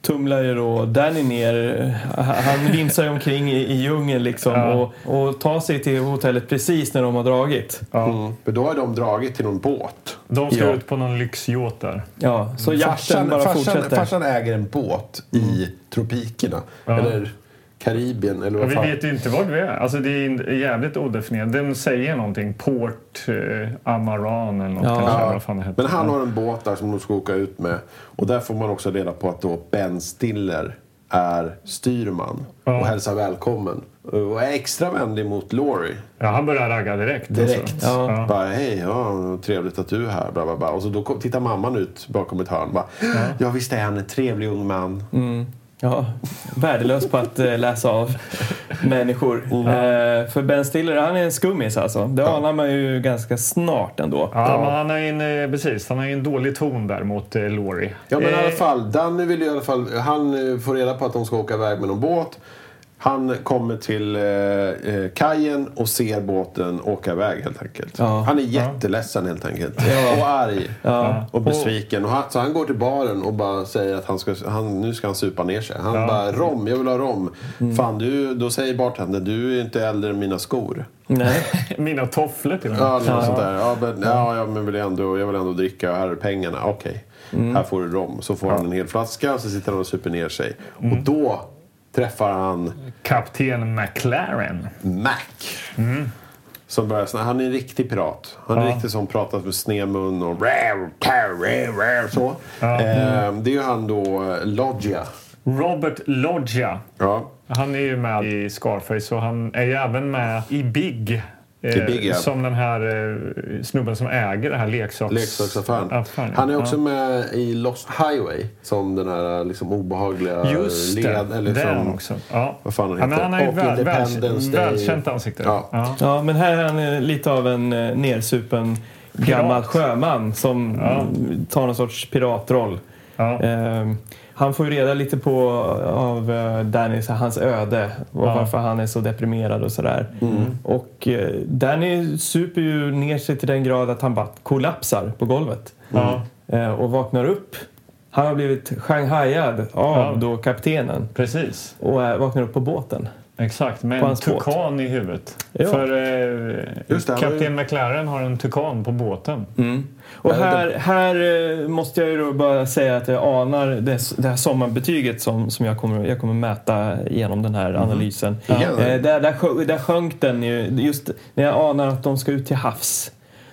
tumlar ju då Danny ner. Eh, Han vimsar ju omkring i, i djungeln liksom
Ja.
och, och tar sig till hotellet precis när de har dragit.
mm. Men då har de dragit till någon båt.
De ska
Ja.
ut på någon lyxyacht där.
Ja, så jakten bara
Mm. farsan,
fortsätter.
farsan äger en båt i tropikerna. Eller Karibien eller
Ja,
vad
vi
fan.
vet ju inte vart vi är. Alltså, det är en- jävligt odefinierat. De säger någonting. Port eh, Amaran eller något.
Ja.
kanske,
Ja,
Vad fan det heter.
men han har en båt där som de ska åka ut med. Och där får man också reda på att då Ben Stiller är styrman
Ja.
och hälsar välkommen. Och är extra vänlig mot Laurie
ja, han börjar ragga direkt.
direkt.
Alltså.
Bara, hej, ja, trevligt att du är här. Bla, bla, bla. Och så då kom, tittar mamman ut bakom ett hörn. Bara, ja. visst är han en trevlig ung man.
Ja, värdelös på att eh, läsa av
[laughs]
människor. Eh, för Ben Stiller, han är en skummis alltså. Det anar man ju ganska snart ändå.
Ja, Men han har ju en, eh, precis, han har ju en dålig ton där mot eh, Laurie.
Ja, men i alla
Eh.
fall. Danny vill ju i alla fall... Han eh, får reda på att de ska åka iväg med någon båt. Han kommer till eh, eh, kajen och ser båten åka iväg helt enkelt.
Ja.
Han är jätteledsen helt enkelt. Och arg. Och besviken. Och han, så han går till baren och bara säger att han ska, han, nu ska han supa ner sig. Han bara rom, jag vill ha rom.
Mm.
Fan, du, då säger bartendern du är inte äldre än mina skor.
Nej.
Mina tofflor till och med.
Ja, något sånt där. Ja, men, ja, ja, men vill jag, ändå, jag vill ändå dricka. Här är pengarna. Okej,
Mm.
här får du rom. Så får han en hel flaska och så sitter han och super ner sig.
Mm.
Och då träffar han
Kapten McLaren.
Mac. Som börjar snacka. Han är en riktig pirat. Han är
Mm. Ja.
riktigt som pratar med snedmun och räv, tar, räv, räv, så. Eh, det är ju han då, eh, Loggia.
Robert Loggia.
Ja.
Han är ju med i Scarface och han är ju även med i Big. eh,
Big, ja.
Som den här eh, snubben som äger den här leksaks...
Leksaksaffären.
affären, ja.
Han är också
Ja.
med i Lost Highway. Som den här liksom, obehagliga
Just det,
led... Eller
det är han
som-
också. Ja.
Vad fan han
ja, men
heter.
han har ju
Och
väl,
Independence
väl,
Day.
välkänt ansikte.
Ja. Mm.
Ja, men här är han eh, lite av en eh, nersupen gammal sjöman som mm, tar någon sorts piratroll.
Ja.
Eh, han får ju reda lite på av eh, Danny, så här, hans öde och
Ja.
varför han är så deprimerad och sådär. Och eh, Danny super ju ner sig till den grad att han bara kollapsar på golvet
Ja,
eh, och vaknar upp. Han har blivit shanghaiad av
Ja.
då kaptenen
precis.
och eh, vaknar upp på båten.
Exakt, med
På
en
hans båt.
tukan i huvudet.
Ja.
För eh,
Just det, han
kapten McLaren har en tukan på båten.
Och här, här eh, måste jag ju då bara säga att jag anar det, det här sommarbetyget som, som jag, kommer, jag kommer mäta genom den här analysen.
Igen?
Eh, där, där, sjö- där sjönk den ju, just när jag anar att de ska ut till havs.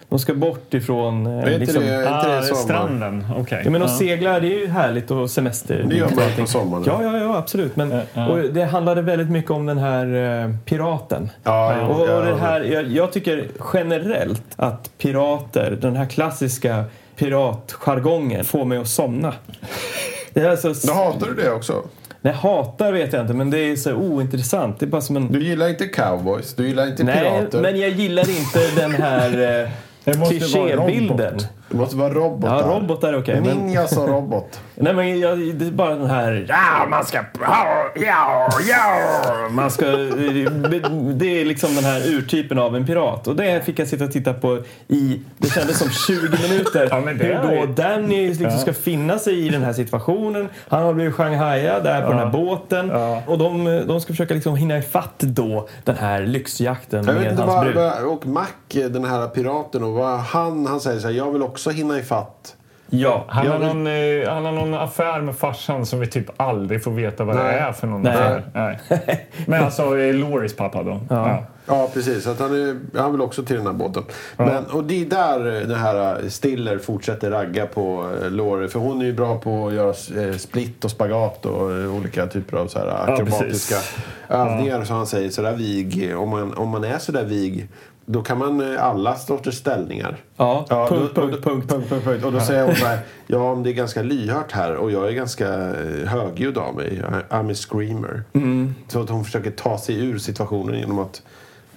De ska bort ifrån... eh,
Är inte
liksom-
det, är inte
Ah,
det sommar?
stranden, okej.
Ja, men
Ah.
att
Ja.
segla det är ju härligt och semester.
Det gör man på sommaren.
Ja, ja, ja absolut. Men,
ja.
Och det handlade väldigt mycket om den här eh, piraten.
Ja, jo,
och, och
ja,
det
ja.
här, jag, jag tycker generellt att pirater, den här klassiska piratjargongen, får mig att somna. Det är alltså,
Då hatar du det också.
nej, hatar vet jag inte, men det är så ointressant. Det är bara som en...
Du gillar inte cowboys, du gillar inte
Nej,
pirater.
men jag gillar inte
[laughs]
den här
Det
eh,
måste vara robot.
klichébilden.
Det måste vara robotar.
Ja, robotar är okej, men-
Ninjas och robot.
Nej, men jag, det är bara den här... Ja, man ska... Ja, ja, man ska... eh, Det är liksom den här urtypen av en pirat. Och det fick jag sitta och titta på i... Det kändes som 20 minuter.
Ja, men det
hur
är-
då Danny liksom ska finna sig i den här situationen. Han har blivit shanghaiad där på den här båten. Och de, de ska försöka liksom hinna ifatt då den här lyxjakten
Jag vet
med
inte
hans
vad,
brud.
vad, och Mac, den här piraten, och vad han, han säger så här, jag vill också hinna ifatt
Ja,
Han,
jag
har
vill-
någon, eh, han har någon affär med farsan som vi typ aldrig får veta vad det
Nej.
är för någon
Nej.
affär. Nej. Men alltså eh, Loris pappa då. Ja.
Ja, precis. Att han, är, han vill också till den här båten. Men, och det är där eh, den här eh, Stiller fortsätter ragga på eh, Laurie. För hon är ju bra på att göra eh, splitt och spagat och eh, olika typer av så här akrobatiska
precis.
övningar. Som han säger, sådär vig. Om man, om man är sådär vig, då kan man eh, alla sorters ställningar.
Ja, punkt,
då-
punkt,
då-
punkt.
punkt, punkt, punkt. Och då säger hon så här, ja om det är ganska lyhört här och jag är ganska eh, högljudd av mig. I- I'm a screamer.
Mm.
Så att hon försöker ta sig ur situationen genom att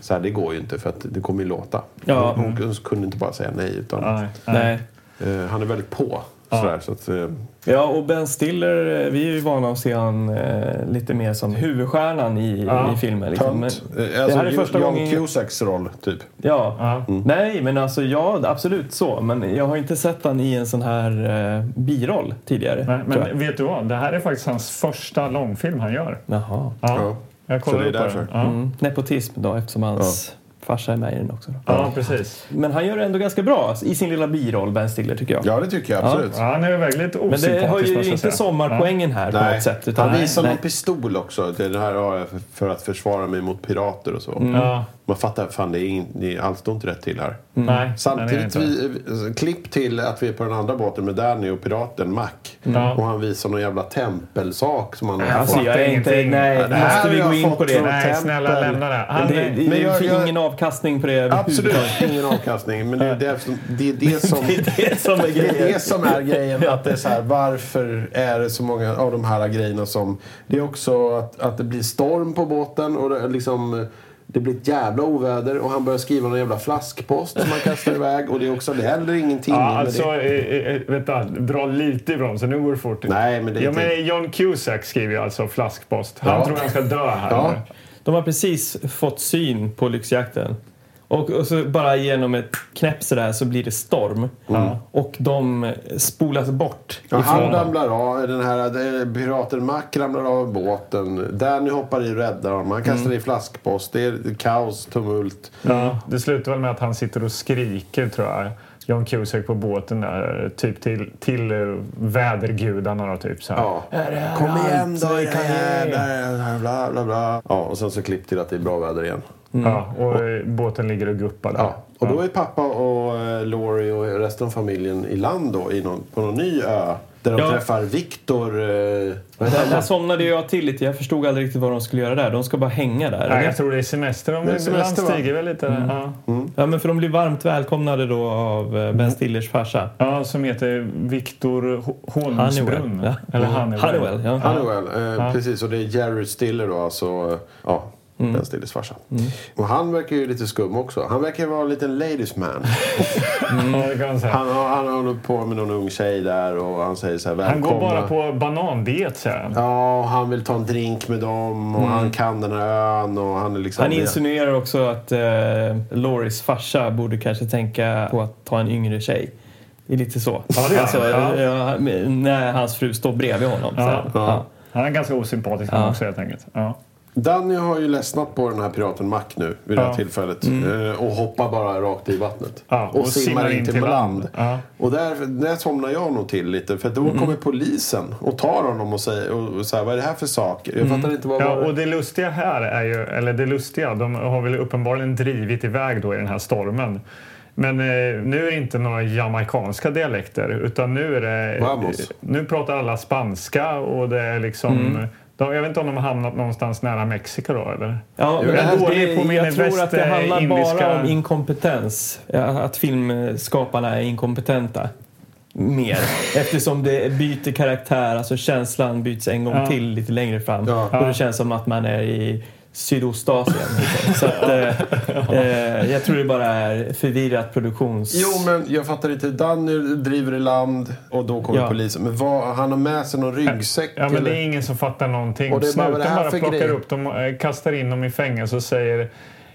så här, det går ju inte för att det kommer ju låta.
Ja.
Hon, hon kunde inte bara säga nej utan
Mm. Nej.
Nej.
eh, han är väldigt på. Sådär, så att, eh,
Ja, och Ben Stiller, eh, vi är ju vana att se han eh, lite mer som huvudstjärnan i,
Ja,
i filmen. Liksom.
tönt.
Men,
Eh, alltså,
det här är första
John
gången...
Cusacks roll typ.
Ja.
Ja.
Nej, men alltså ja, absolut så. Men jag har inte sett han i en sån här eh, biroll tidigare.
Nej,
tror jag.
men vet du vad? Det här är faktiskt hans första långfilm han gör.
Jaha.
Ja.
Ja.
Jag
Så
kollar
det är
upp på den.
därför.
Ja.
Mm. Nepotism då, eftersom hans farsa är med i den också. Då.
ja, precis.
Men han gör det ändå ganska bra i sin lilla biroll, Ben Stiller, tycker jag.
Ja det tycker jag absolut.
Ja, han är väldigt
Men
osympatisk
det har ju
måste jag
inte
säga.
sommarpoängen här på något sätt. utan-
han visar
Nej.
någon pistol också. Det här har jag för, för att försvara mig mot pirater och så.
Ja.
Mm.
Man fattar, fan det är, in, det är allt står inte rätt till här.
Nej, den är
Samtidigt,
inte.
vi, eh, klipp till att vi är på den andra båten med Danny och piraten Mac.
Ja.
Och han visar någon jävla tempelsak som han har
Alltså
fått.
fattar
jag är inte...
ingenting.
Nej,
Det här
måste vi
har jag
gå in
fått
på det?
från
Nej, snälla
Temple.
lämna det. Han,
det, det,
är-
Men jag-
det är
jag-
ingen avkastning på det
Absolut
överhuvudtaget. [laughs]
ingen avkastning. Men det är det, som, det, är det, som,
Det är det som är
det är
grejen.
det som är grejen. Att det är så här, varför är det så många av de här grejerna som... Det är också att, att det blir storm på båten och det, är liksom, det blir ett jävla oväder. Och han börjar skriva någon jävla flaskpost som han kastar iväg. Och det är också det händer ingenting.
Ja,
med
alltså,
det.
eh, eh, vänta, dra lite i bromsen. Nu går det fort.
Nej, men det är
ja,
inte-
men John Cusack skriver ju alltså flaskpost. Han
Ja.
tror han ska dö här.
Ja.
nu.
De har precis fått syn på lyxjakten. Och, och så bara genom ett knäpp sådär så blir det storm. Och de spolas bort.
Mm. Ja, han
ifrån dem.
ramlar av, den här eh, piraten Mac ramlar av båten. Danny hoppar i och räddar honom. Han kastar
Mm.
i flaskpost. Det är kaos, tumult.
Ja, det slutar väl med att han sitter och skriker, tror jag. John Cusack på båten där, typ till, till eh, vädergudarna då, typ så här.
Ja. Kom igen då, era jävlar. Bla, bla, bla. Ja, och sen så klipp till att det är bra väder igen.
Ja, och eh, båten ligger och guppar där.
Ja. Och då är pappa och eh, Laurie och resten av familjen i land då, i någon, på någon ny ö. Där de
Ja.
träffar Viktor... Eh, vad heter
Där, där
han?
somnade jag till lite. Jag förstod aldrig riktigt vad de skulle göra där. De ska bara hänga där.
Nej,
eller?
jag tror det är semester. De
Det är
ibland
semester, va?
stiger väl lite. där. Ja.
Ja, men för de blir varmt välkomnade då av eh, Ben Stillers farsa.
ja, som heter Viktor H- Holmsbrunn.
Honeywell, ja.
Eller Honeywell.
Honeywell, ja. Mm.
Honeywell, eh, precis. Och det är Jared Stiller då, alltså... eh, Ja, Ben Stillers farsa. Och han verkar ju lite skum också. Han verkar vara en liten ladies man.
Ja, det kan man säga.
Han, har- han håller på med någon ung tjej där och han säger så här
Han
välkomna.
går bara på banandiet, säger han.
Ja, och han vill ta en drink med dem
Mm.
och han kan den här ön och han är liksom...
Han insinuerar också att eh, Loris farsa borde kanske tänka på att ta en yngre tjej. Det är lite så.
det är
alltså,
han. Ja.
ja, men när hans fru står bredvid honom. så här.
Ja.
Han är ganska osympatisk han också, helt enkelt. Ja.
Danny har ju ledsnat på den här piraten Mac nu vid det här
Ja. Mm.
tillfället. Eh, Och hoppar bara rakt i vattnet.
Ja,
och, simmar in till land.
Ja. Mm.
Och där, där somnar jag nog till lite. För då kommer polisen och tar honom och säger och, och så här, vad är det här för sak? Jag fattar inte vad
Mm. Ja,
var det
och det lustiga här är ju, eller det lustiga, de har väl uppenbarligen drivit iväg då i den här stormen. Men eh, nu är det inte några jamaicanska dialekter utan nu är det...
Vamos. Mm.
Nu pratar alla spanska och det är liksom... De, jag vet inte om de har hamnat någonstans nära Mexiko då eller?
Ja, men
Jag är
det-
dålig på min
jag tror att det handlar
västindiska-
bara om inkompetens. Ja, Att filmskaparna är inkompetenta. Mer. Eftersom det byter karaktär, alltså känslan byts en gång till lite längre fram.
Ja.
Och det känns som att man är i Sydostasien. liksom. Så att, eh, eh, jag tror det bara är förvirrat produktions...
Jo, men jag fattar inte. Danny driver i land och då kommer
Ja.
polisen. Men vad, han har med sig någon ryggsäck?
Ja, men
eller?
det är ingen som fattar någonting.
Och det är bara, vad är det
Snuten
här
bara
för
plockar
grej?
upp dem, och, eh, kastar in dem i fängelse och säger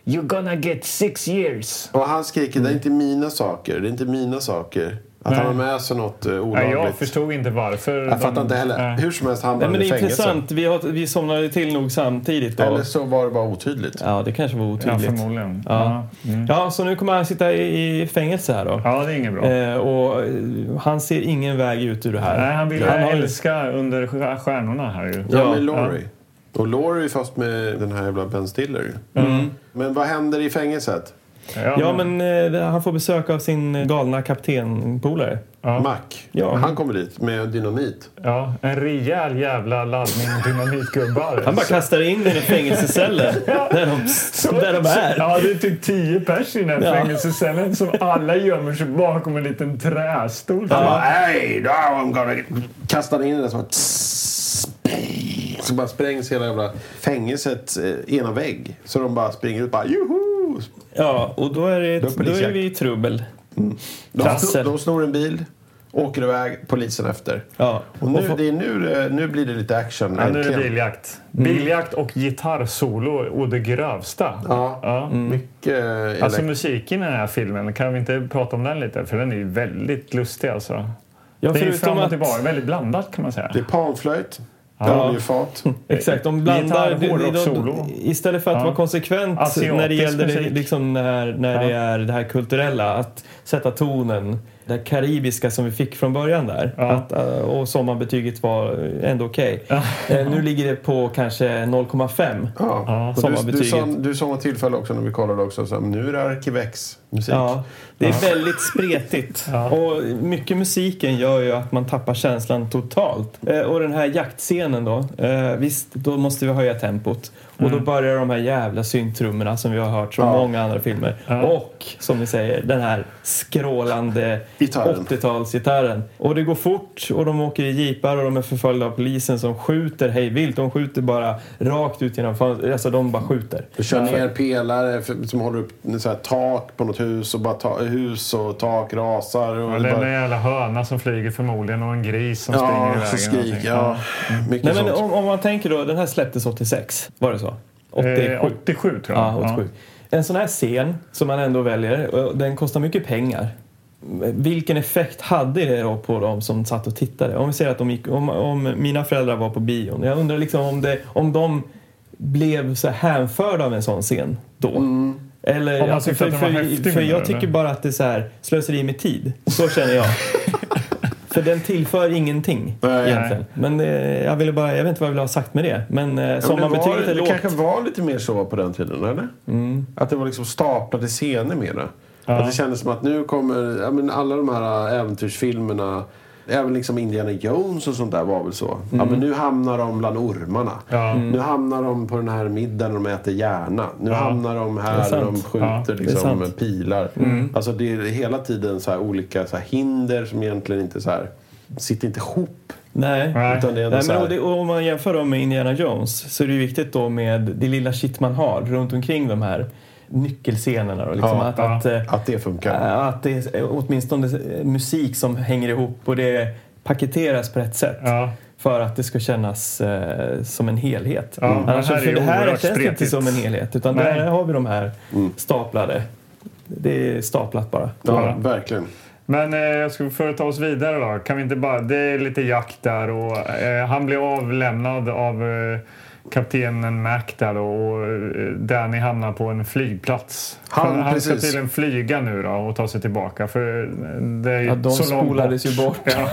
You're gonna get six years.
Och han skriker, det är inte mina saker, det är inte mina saker. Att han
Mm. Nej.
har med sig något eh,
Nej,
olagligt.
jag förstod inte varför.
Jag fattar
de-
inte heller.
Nej.
Hur som helst
Nej,
hamnade
men
han
det
i
är
fängelse.
intressant. Vi, har, vi somnade till nog samtidigt. Då.
Eller så var det bara otydligt.
Ja, det kanske var
Ja,
otydligt.
förmodligen.
Ja.
Ja. Mm.
Ja, så nu kommer han sitta i, i fängelse här då.
ja, det är inget bra.
Eh, och eh, han ser ingen väg ut ur det här.
Nej, han vill
har ju-
älska under stjär- stjärnorna här ju.
Ja,
Ja,
med Laurie. Och Laurie fast med den här jävla Ben Stiller.
Mm.
Men vad händer i fängelset?
Ja, men eh, han får besök av sin galna kaptenpolare.
Ja,
Mac.
Ja.
Han kommer dit med dynamit.
ja, en rejäl jävla laddning dynamitgubbar.
Han bara kastar in den i [laughs] fängelsecellen där, de, där de är.
Ja, det är typ tio pers i den här
Ja.
fängelsecellen som alla gömmer sig bakom en liten trästol.
Han bara hey, now I'm gonna... Kastar in den så bara... tss, Så bara sprängs hela jävla fängelset eh, ena vägg. Så de bara springer ut bara joho!
Ja, och då är, det,
Då är
då är
polisjakt.
vi i trubbel.
De, snor-
Trassel.
de snor en bil, åker iväg, polisen efter.
Ja.
Och nu, det är nu, det- nu blir det lite action
Ja, nu är det
äntligen.
biljakt.
Mm.
Biljakt och gitarrsolo å det grövsta.
Ja,
Ja. Mm.
mycket elek-
Alltså musiken i den här filmen, kan vi inte prata om den lite? För den är ju väldigt lustig alltså.
Ja,
Det är ju
förutom
fram och
att-
tillbaka, väldigt blandat kan man säga.
Det är panflöjt, radiofat.
Eh,
Exakt, de blandar...
Gitarr, hårdrock,
de- de-
solo.
Istället för att
Ja.
vara konsekvent
Asiatisk
när det gäller det,
musik.
liksom det, här, när det,
Ja.
är det här kulturella, att sätta tonen. Det här karibiska som vi fick från början där.
Ja.
Att, eh, och sommarbetyget var ändå okej. Eh, Nu ligger det på kanske 0,5.
Ja.
Ja,
Och du, du,
sommarbetyget.
sa, du sa något tillfälle också när vi kollade också, så här, nu är det Arkivex musik.
Ja, det är väldigt spretigt. Och mycket musiken gör ju att man tappar känslan totalt. Eh, och den här jaktscenen då. Eh, visst, då måste vi höja tempot. Och då börjar de här jävla synttrummorna som vi har hört från många andra filmer. Och som ni säger, den här skrålande
Gitarren.
80-talsgitarren. Och det går fort och de åker i jeepar och de är förföljda av polisen som skjuter hej vilt. De skjuter bara rakt ut genom fönstret. Alltså de bara skjuter.
Du kör ner pelare för, som håller upp så här, tak på något hus och bara ta, hus och tak rasar. Och
Ja,
det
det är
bara,
en jävla höna som flyger förmodligen och en gris som springer i
ja,
vägen.
så skrik.
någonting.
Ja, mycket
Nej, men
sånt.
om, om man tänker då, den här släpptes 86, var det så? 87?
Eh, 87 tror jag.
ja, 87. En sån här scen som man ändå väljer, och den kostar mycket pengar. Vilken effekt hade det då på dem som satt och tittade? Om vi säger att de gick, om, om mina föräldrar var på bion. Jag undrar liksom om, det, om de blev så här hänförda av en sån scen då. Eller,
Om man
alltså,
tyckte
för,
att den var
för,
häftig,
för
menar
jag
du,
tycker
eller?
bara att det är så här slöseri med tid. Så känner jag. För den tillför ingenting
Nej.
egentligen. Men eh, jag ville bara, jag vet inte vad jag ville ha sagt med det. Men eh,
Ja, men det var-
sommarbetyget är
Det
lågt.
kanske var lite mer så på den tiden, eller? Att det var liksom staplade scener mera. Att det kändes som att nu kommer ja, men alla de här äventyrsfilmerna Även liksom Indiana Jones och sånt där var väl så. Ja, men nu hamnar de bland ormarna.
Ja.
Nu hamnar de på den här middagen när de äter hjärna. Nu hamnar de
Det
här
är
när
sant.
de skjuter
Ja,
liksom,
sant.
pilar. Alltså det är hela tiden så här olika så här hinder som egentligen inte så här, sitter inte ihop.
Nej.
Nej.
Utan det är ändå
Nej,
så
men
här,
och det, och om man jämför dem med Indiana Jones så är det ju viktigt då med det lilla shit man har runt omkring de här nyckelscenerna. Då, liksom
Ja,
att,
ja.
Att, eh,
att det funkar.
eh, att det är åtminstone eh, musik som hänger ihop och det paketeras på rätt sätt.
Ja.
För att det ska kännas eh, som en helhet.
Ja, men
Annars,
här är
för
ju
det här känns
oerhört
det inte
spretigt.
som en helhet. Utan
Nej.
där har vi de här staplade. Det är staplat bara.
Mm. ja, verkligen.
Men eh, jag skulle för att ta oss vidare då. Kan vi inte bara, det är lite jakt där och eh, han blir avlämnad av eh, kaptenen Mac där då, och eh, Danny hamnar på en flygplats.
Han-
han ska
precis.
tydligen flyga nu då och ta sig tillbaka för eh, det är ju
Ja, de
så långt
spolades
bort.
ju bort.
Ja.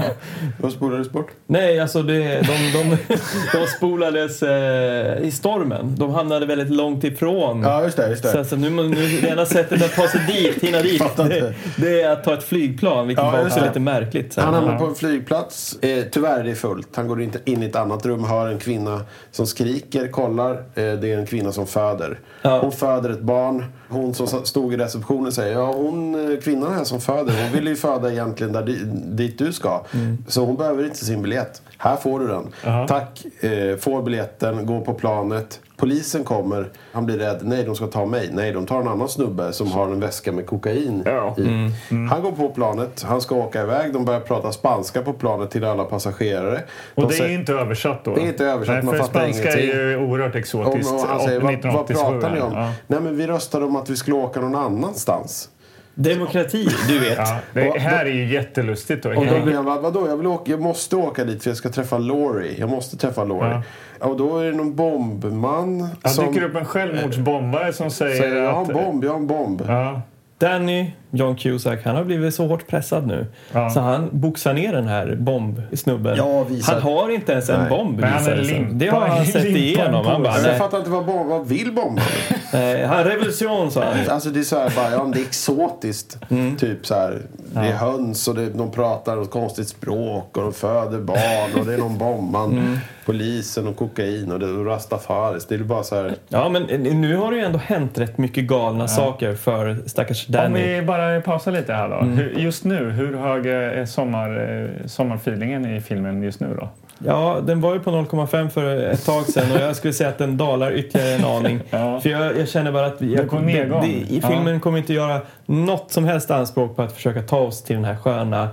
Då spolades bort.
Nej, alltså det, de, de, [laughs] de spolades eh, i stormen. De hamnade väldigt långt ifrån.
Ja, just det. Just
Så
det.
alltså, nu, nu, det enda sättet att ta sig dit, hinna dit,
Fattar
det,
inte.
det är att ta ett flygplan, vilket
Ja,
var
just
också
det.
lite märkligt. Så.
Han
här.
hamnar på en flygplats. Eh, tyvärr är det fullt. Han går inte in i ett annat rum, hör en kvinna som skriker, kollar. Eh, det är en kvinna som föder.
Ja.
Hon föder ett barn. Hon som sa- stod i receptionen säger, ja hon, eh, kvinnan här som föder, hon vill ju föda egentligen där, di- dit du ska. Så hon behöver inte sin biljett. Här får du den. Tack. Eh, får biljetten, går på planet. Polisen kommer, han blir rädd. Nej, de ska ta mig. Nej, de tar en annan snubbe som har en väska med kokain
Ja. Mm,
i. Han går på planet, han ska åka iväg. De börjar prata spanska på planet till alla passagerare. De
Och det är
säger-
inte översatt då?
Det är inte översatt,
Nej,
man
för
fattar
spanska är
ingenting.
ju oerhört
om,
exotiskt.
och han säger, vad, vad
1987
pratar ni om?
här. Ja.
Nej, men vi röstade om att vi skulle åka någon annanstans.
Demokrati, du vet.
Ja, det här är ju jättelustigt. Då.
Och då blev jag bara, vadå, jag, vill åka, jag måste åka dit för jag ska träffa Laurie. Jag måste träffa Laurie. Och då är det någon bombman
Han
som
dyker upp en självmordsbombare som
säger
säger
jag har
att...
en bomb, jag har en bomb.
Ja,
Danny, John Cusack, han har blivit så hårt pressad nu.
Ja.
Så han boxar ner den här bombsnubben.
Ja, visar-
Han har inte ens en
Nej.
bomb.
Nej, han
visar
är
det sig.
limpa-
det har han sett
limpan
igenom.
på
Han bara,
Men
nej,
jag fattar inte vad, bomb, vad vill bomben?
nej, han revolution sa han.
Alltså det är så här bara, ja, men det är exotiskt.
Mm.
Typ så här, det är höns och det, de pratar ett konstigt språk och de föder barn och det är någon bombman.
Mm.
Polisen och kokain och, det, och rastafaris. Det är bara så här,
Ja, men eh, nu har det ju ändå hänt rätt mycket galna saker för stackars
Om
Danny.
vi bara pausar lite här då.
Mm.
Hur- Just nu, hur hög är sommar, eh, sommarfeelingen i filmen just nu då?
Ja, den var ju på 0,5 för ett tag sedan och jag skulle säga att den dalar ytterligare en aning.
Ja.
För jag, jag känner bara att vi- jag,
går nedgång.
i filmen kommer inte göra något som helst anspråk på att försöka ta oss till den här sköna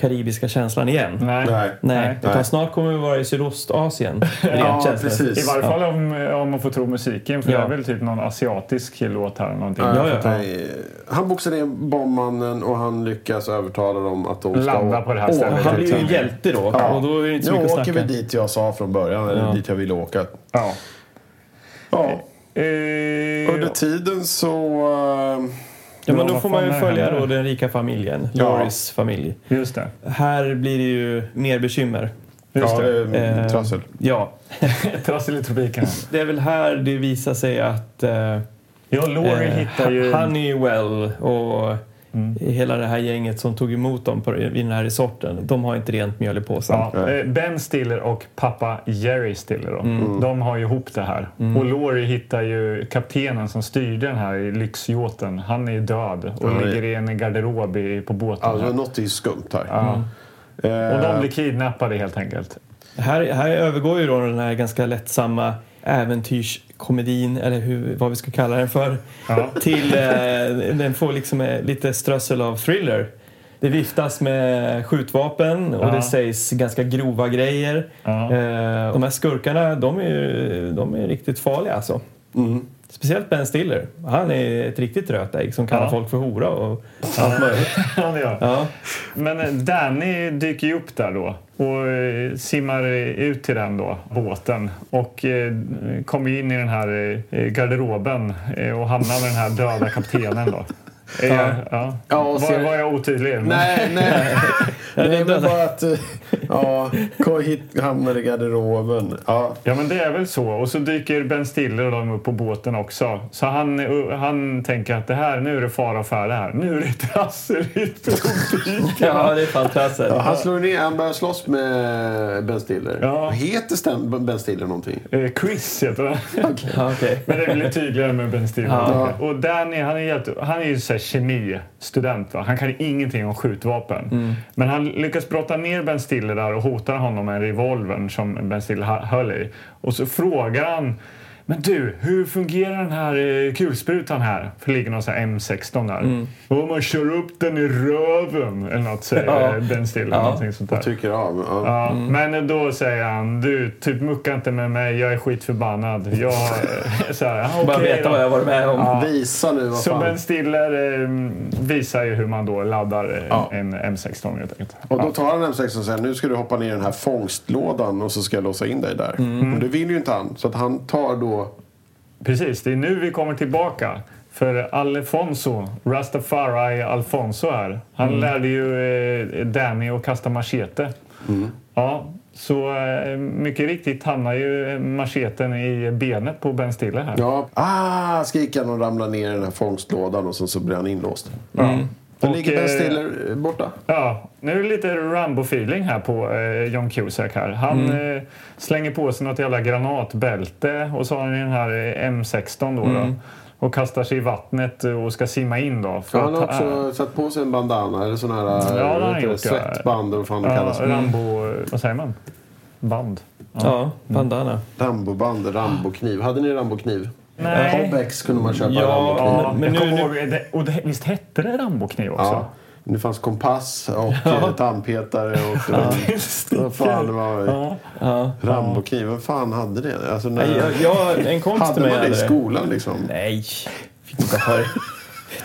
karibiska känslan igen.
Nej.
nej.
Nej, utan
Nej.
snart kommer vi vara i Sydostasien.
Ja,
Rent känslomässigt.
precis.
I varje fall om, eh, om man får tro musiken, för
Ja.
det är väl typ någon asiatisk låt här. eller Någonting.
Ja,
Ja,
jag fattar.
ja.
Han boxar ner bombmannen och han lyckas övertala dem att de ska
Landa på det här
åka
stället.
till
Han blir ju en
exempel.
hjälte då
Ja.
och då är det inte så mycket
Nu
att
åker vi
snacka.
dit jag sa från början, eller
Ja.
dit jag ville åka.
Ja.
Ja.
Eh,
Under tiden så... eh,
Ja, men
Ja,
då
vad
får
fan
man ju
är det
följa
här nu?
då den rika familjen,
Ja.
Loris familj.
Just det.
Här blir det ju mer bekymmer.
Just
ja,
det.
det är
Eh,
trassel.
Ja,
Trassel i tropikerna.
det är väl här det visar sig att eh,
Ja, Laurie
eh,
hittar ju... Mm.
han är ju well och hela det här gänget som tog emot dem på, i den här resorten, de har inte rent mjöl i påsen.
Ja, eh, ben Stiller och pappa Jerry Stiller då.
Mm.
Mm.
De har ju ihop det här. Och Laurie hittar ju kaptenen som styrde den här lyxyachten. Han är ju död och
Ja, det-
ligger i en garderob i, på båten.
Alltså,
här.
något är ju skumt här. Eh,
Ja. Och de blir kidnappade helt enkelt.
Här, här övergår ju då den här ganska lättsamma äventyrskomedin, eller hur, vad vi ska kalla den för,
Ja.
till eh, den får liksom eh, lite strössel av thriller. Det viftas med skjutvapen och
Ja.
det sägs ganska grova grejer.
Ja.
Eh, de här skurkarna, de är, ju- de är riktigt farliga alltså. Speciellt Ben Stiller. Han är ett riktigt rötägg som kallar
Ja.
folk för hora och allt möjligt.
[laughs] Ja, det gör.
Ja.
Men eh, Danny dyker ju upp där då och eh, simmar eh, ut till den då, båten och eh, kommer ju in i den här eh, garderoben eh, och hamnar med den här döda kaptenen då. Eh, Ja.
Ja, och
var,
ser-
var jag otydlig? Men-
Nej, [laughs] nej.
det
Nej,
är
men
döda.
bara att... eh, Ja, kom hit, hamnar i garderoben. Ja,
Ja, men det är väl så. Och så dyker Ben Stiller och de upp på båten också. Så han, uh, han tänker att det här, nu är det fara och färde här. Nu är det trassel i [laughs] tropiken.
ja, det är [laughs] fantastiskt.
han slår ner, han börjar slåss med Ben Stiller.
Ja.
Heter Stan- Ben Stiller någonting?
Eh, Chris heter han.
Ja, okej.
Men det blir tydligare med Ben Stiller. Och Danny, han är, helt, han är ju så här kemistudent. Va? Han kan ju ingenting om skjutvapen.
Mm.
Men han lyckas brotta ner Ben Stiller där och hotar honom med revolvern som Ben Stiller ha- höll i. Och så frågar han men du, hur fungerar den här eh, kulsprutan här? För det ligger någon sån här M16 där.
Mm.
Och man kör upp den i röven eller något säger
Ja.
eh, Ben Stiller.
Ja.
Någonting sånt där.
Tycker av. Ja.
Ja,
Mm.
Men då säger han, du typ mucka inte med mig, jag är skitförbannad. Jag, [laughs] så här, "Ah,
Bara
okej
veta
då."
vad jag varit med om.
Visa nu vad
Så
fan.
Ben Stiller eh, visar ju hur man då laddar eh,
Ja.
en M16 helt enkelt.
Och då tar han M16 och säger nu ska du hoppa ner i den här fångstlådan och så ska jag låsa in dig där. Men det vill ju inte han. Så att han tar då...
Precis, det är nu vi kommer tillbaka. För Alfonso, Rastafari Alfonso här, han
Mm.
lärde ju eh, Danny att kasta machete.
Mm.
Ja, så eh, mycket riktigt hamnar ju eh, macheten i benet på Ben Stiller här.
Ja, ah, skriker han och ramlar ner i den här fångstlådan och sen så blir han inlåst. Då
Och,
ligger Ben
eh,
Stiller eh, borta.
Ja, nu är det lite Rambo-feeling här på eh, John Cusack här. Han eh, slänger på sig något jävla granatbälte och så har han den här eh, M16 då, då och kastar sig i vattnet och ska simma in då. För
Han har
att-
också satt på sig en bandana eller sån här eh,
det har
ja,
han gjort, ja.
svettband eller vad fan det
ja,
kallas.
Rambo... eh, Vad säger man? Band?
Ja, bandana.
Ramboband, rambokniv. Hade ni rambokniv?
Nej.
Hobex kunde man köpa
Ja,
rambokniv.
Ja,
men
men
nu-
jag kommer
nu-
ihåg, eh, det, och det, visst hette det Rambo-kniv också?
Ja. Det fanns kompass och eh, tandpetare
[laughs]
och... eh, Vad fan det var. Rambokniv, vem fan hade det? Alltså, när...
Jag, jag, en kompis till
Hade man
mig
det i
hade det.
skolan liksom?
Nej, fick inte ha det.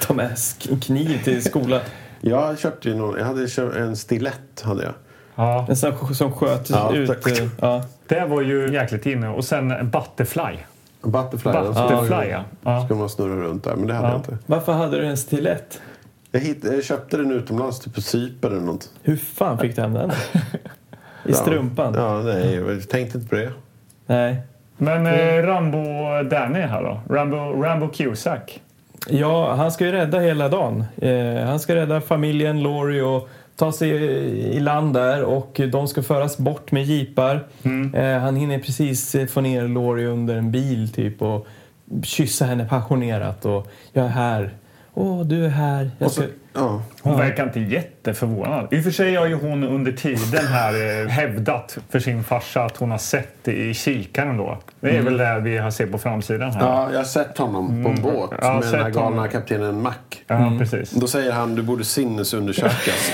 ta med sk- kniv till skolan.
Jag köpte ju någon, jag hade köpt en stilett hade jag.
Ja.
En sån som sköt
Ja,
ut.
tack.
eh, Ja.
Det var ju jäkligt inne. Och sen Butterfly.
Butterfly. den ska-
Butterfly, ja. ja.
Ska man snurra runt där, men det hade jag inte.
Varför hade du en stilett?
Jag, hitt, jag köpte den utomlands, typ på Cypern eller något.
Hur fan fick du hem den? I strumpan?
Ja, nej, jag tänkte inte på det.
Nej.
Men eh, Rambo Danny här då? Rambo, Rambo Cusack.
Ja, han ska ju rädda hela dagen. Eh, han ska rädda familjen Laurie och ta sig i land där och de ska föras bort med jeepar.
Mm.
Eh, han hinner precis eh, få ner Laurie under en bil typ och kyssa henne passionerat och jag är här. Åh, du är här. Jag ska...
Ja.
Hon verkar inte jätteförvånad. I och för sig har ju hon under tiden här eh, hävdat för sin farsa att hon har sett det i kikaren då. Det är väl det vi har sett på framsidan här.
Mm. ja, jag har sett honom på en båt
jag har
med den här
sett honom.
galna kaptenen Mac.
Ja, precis.
Mm. Då säger han du borde sinnesundersökas.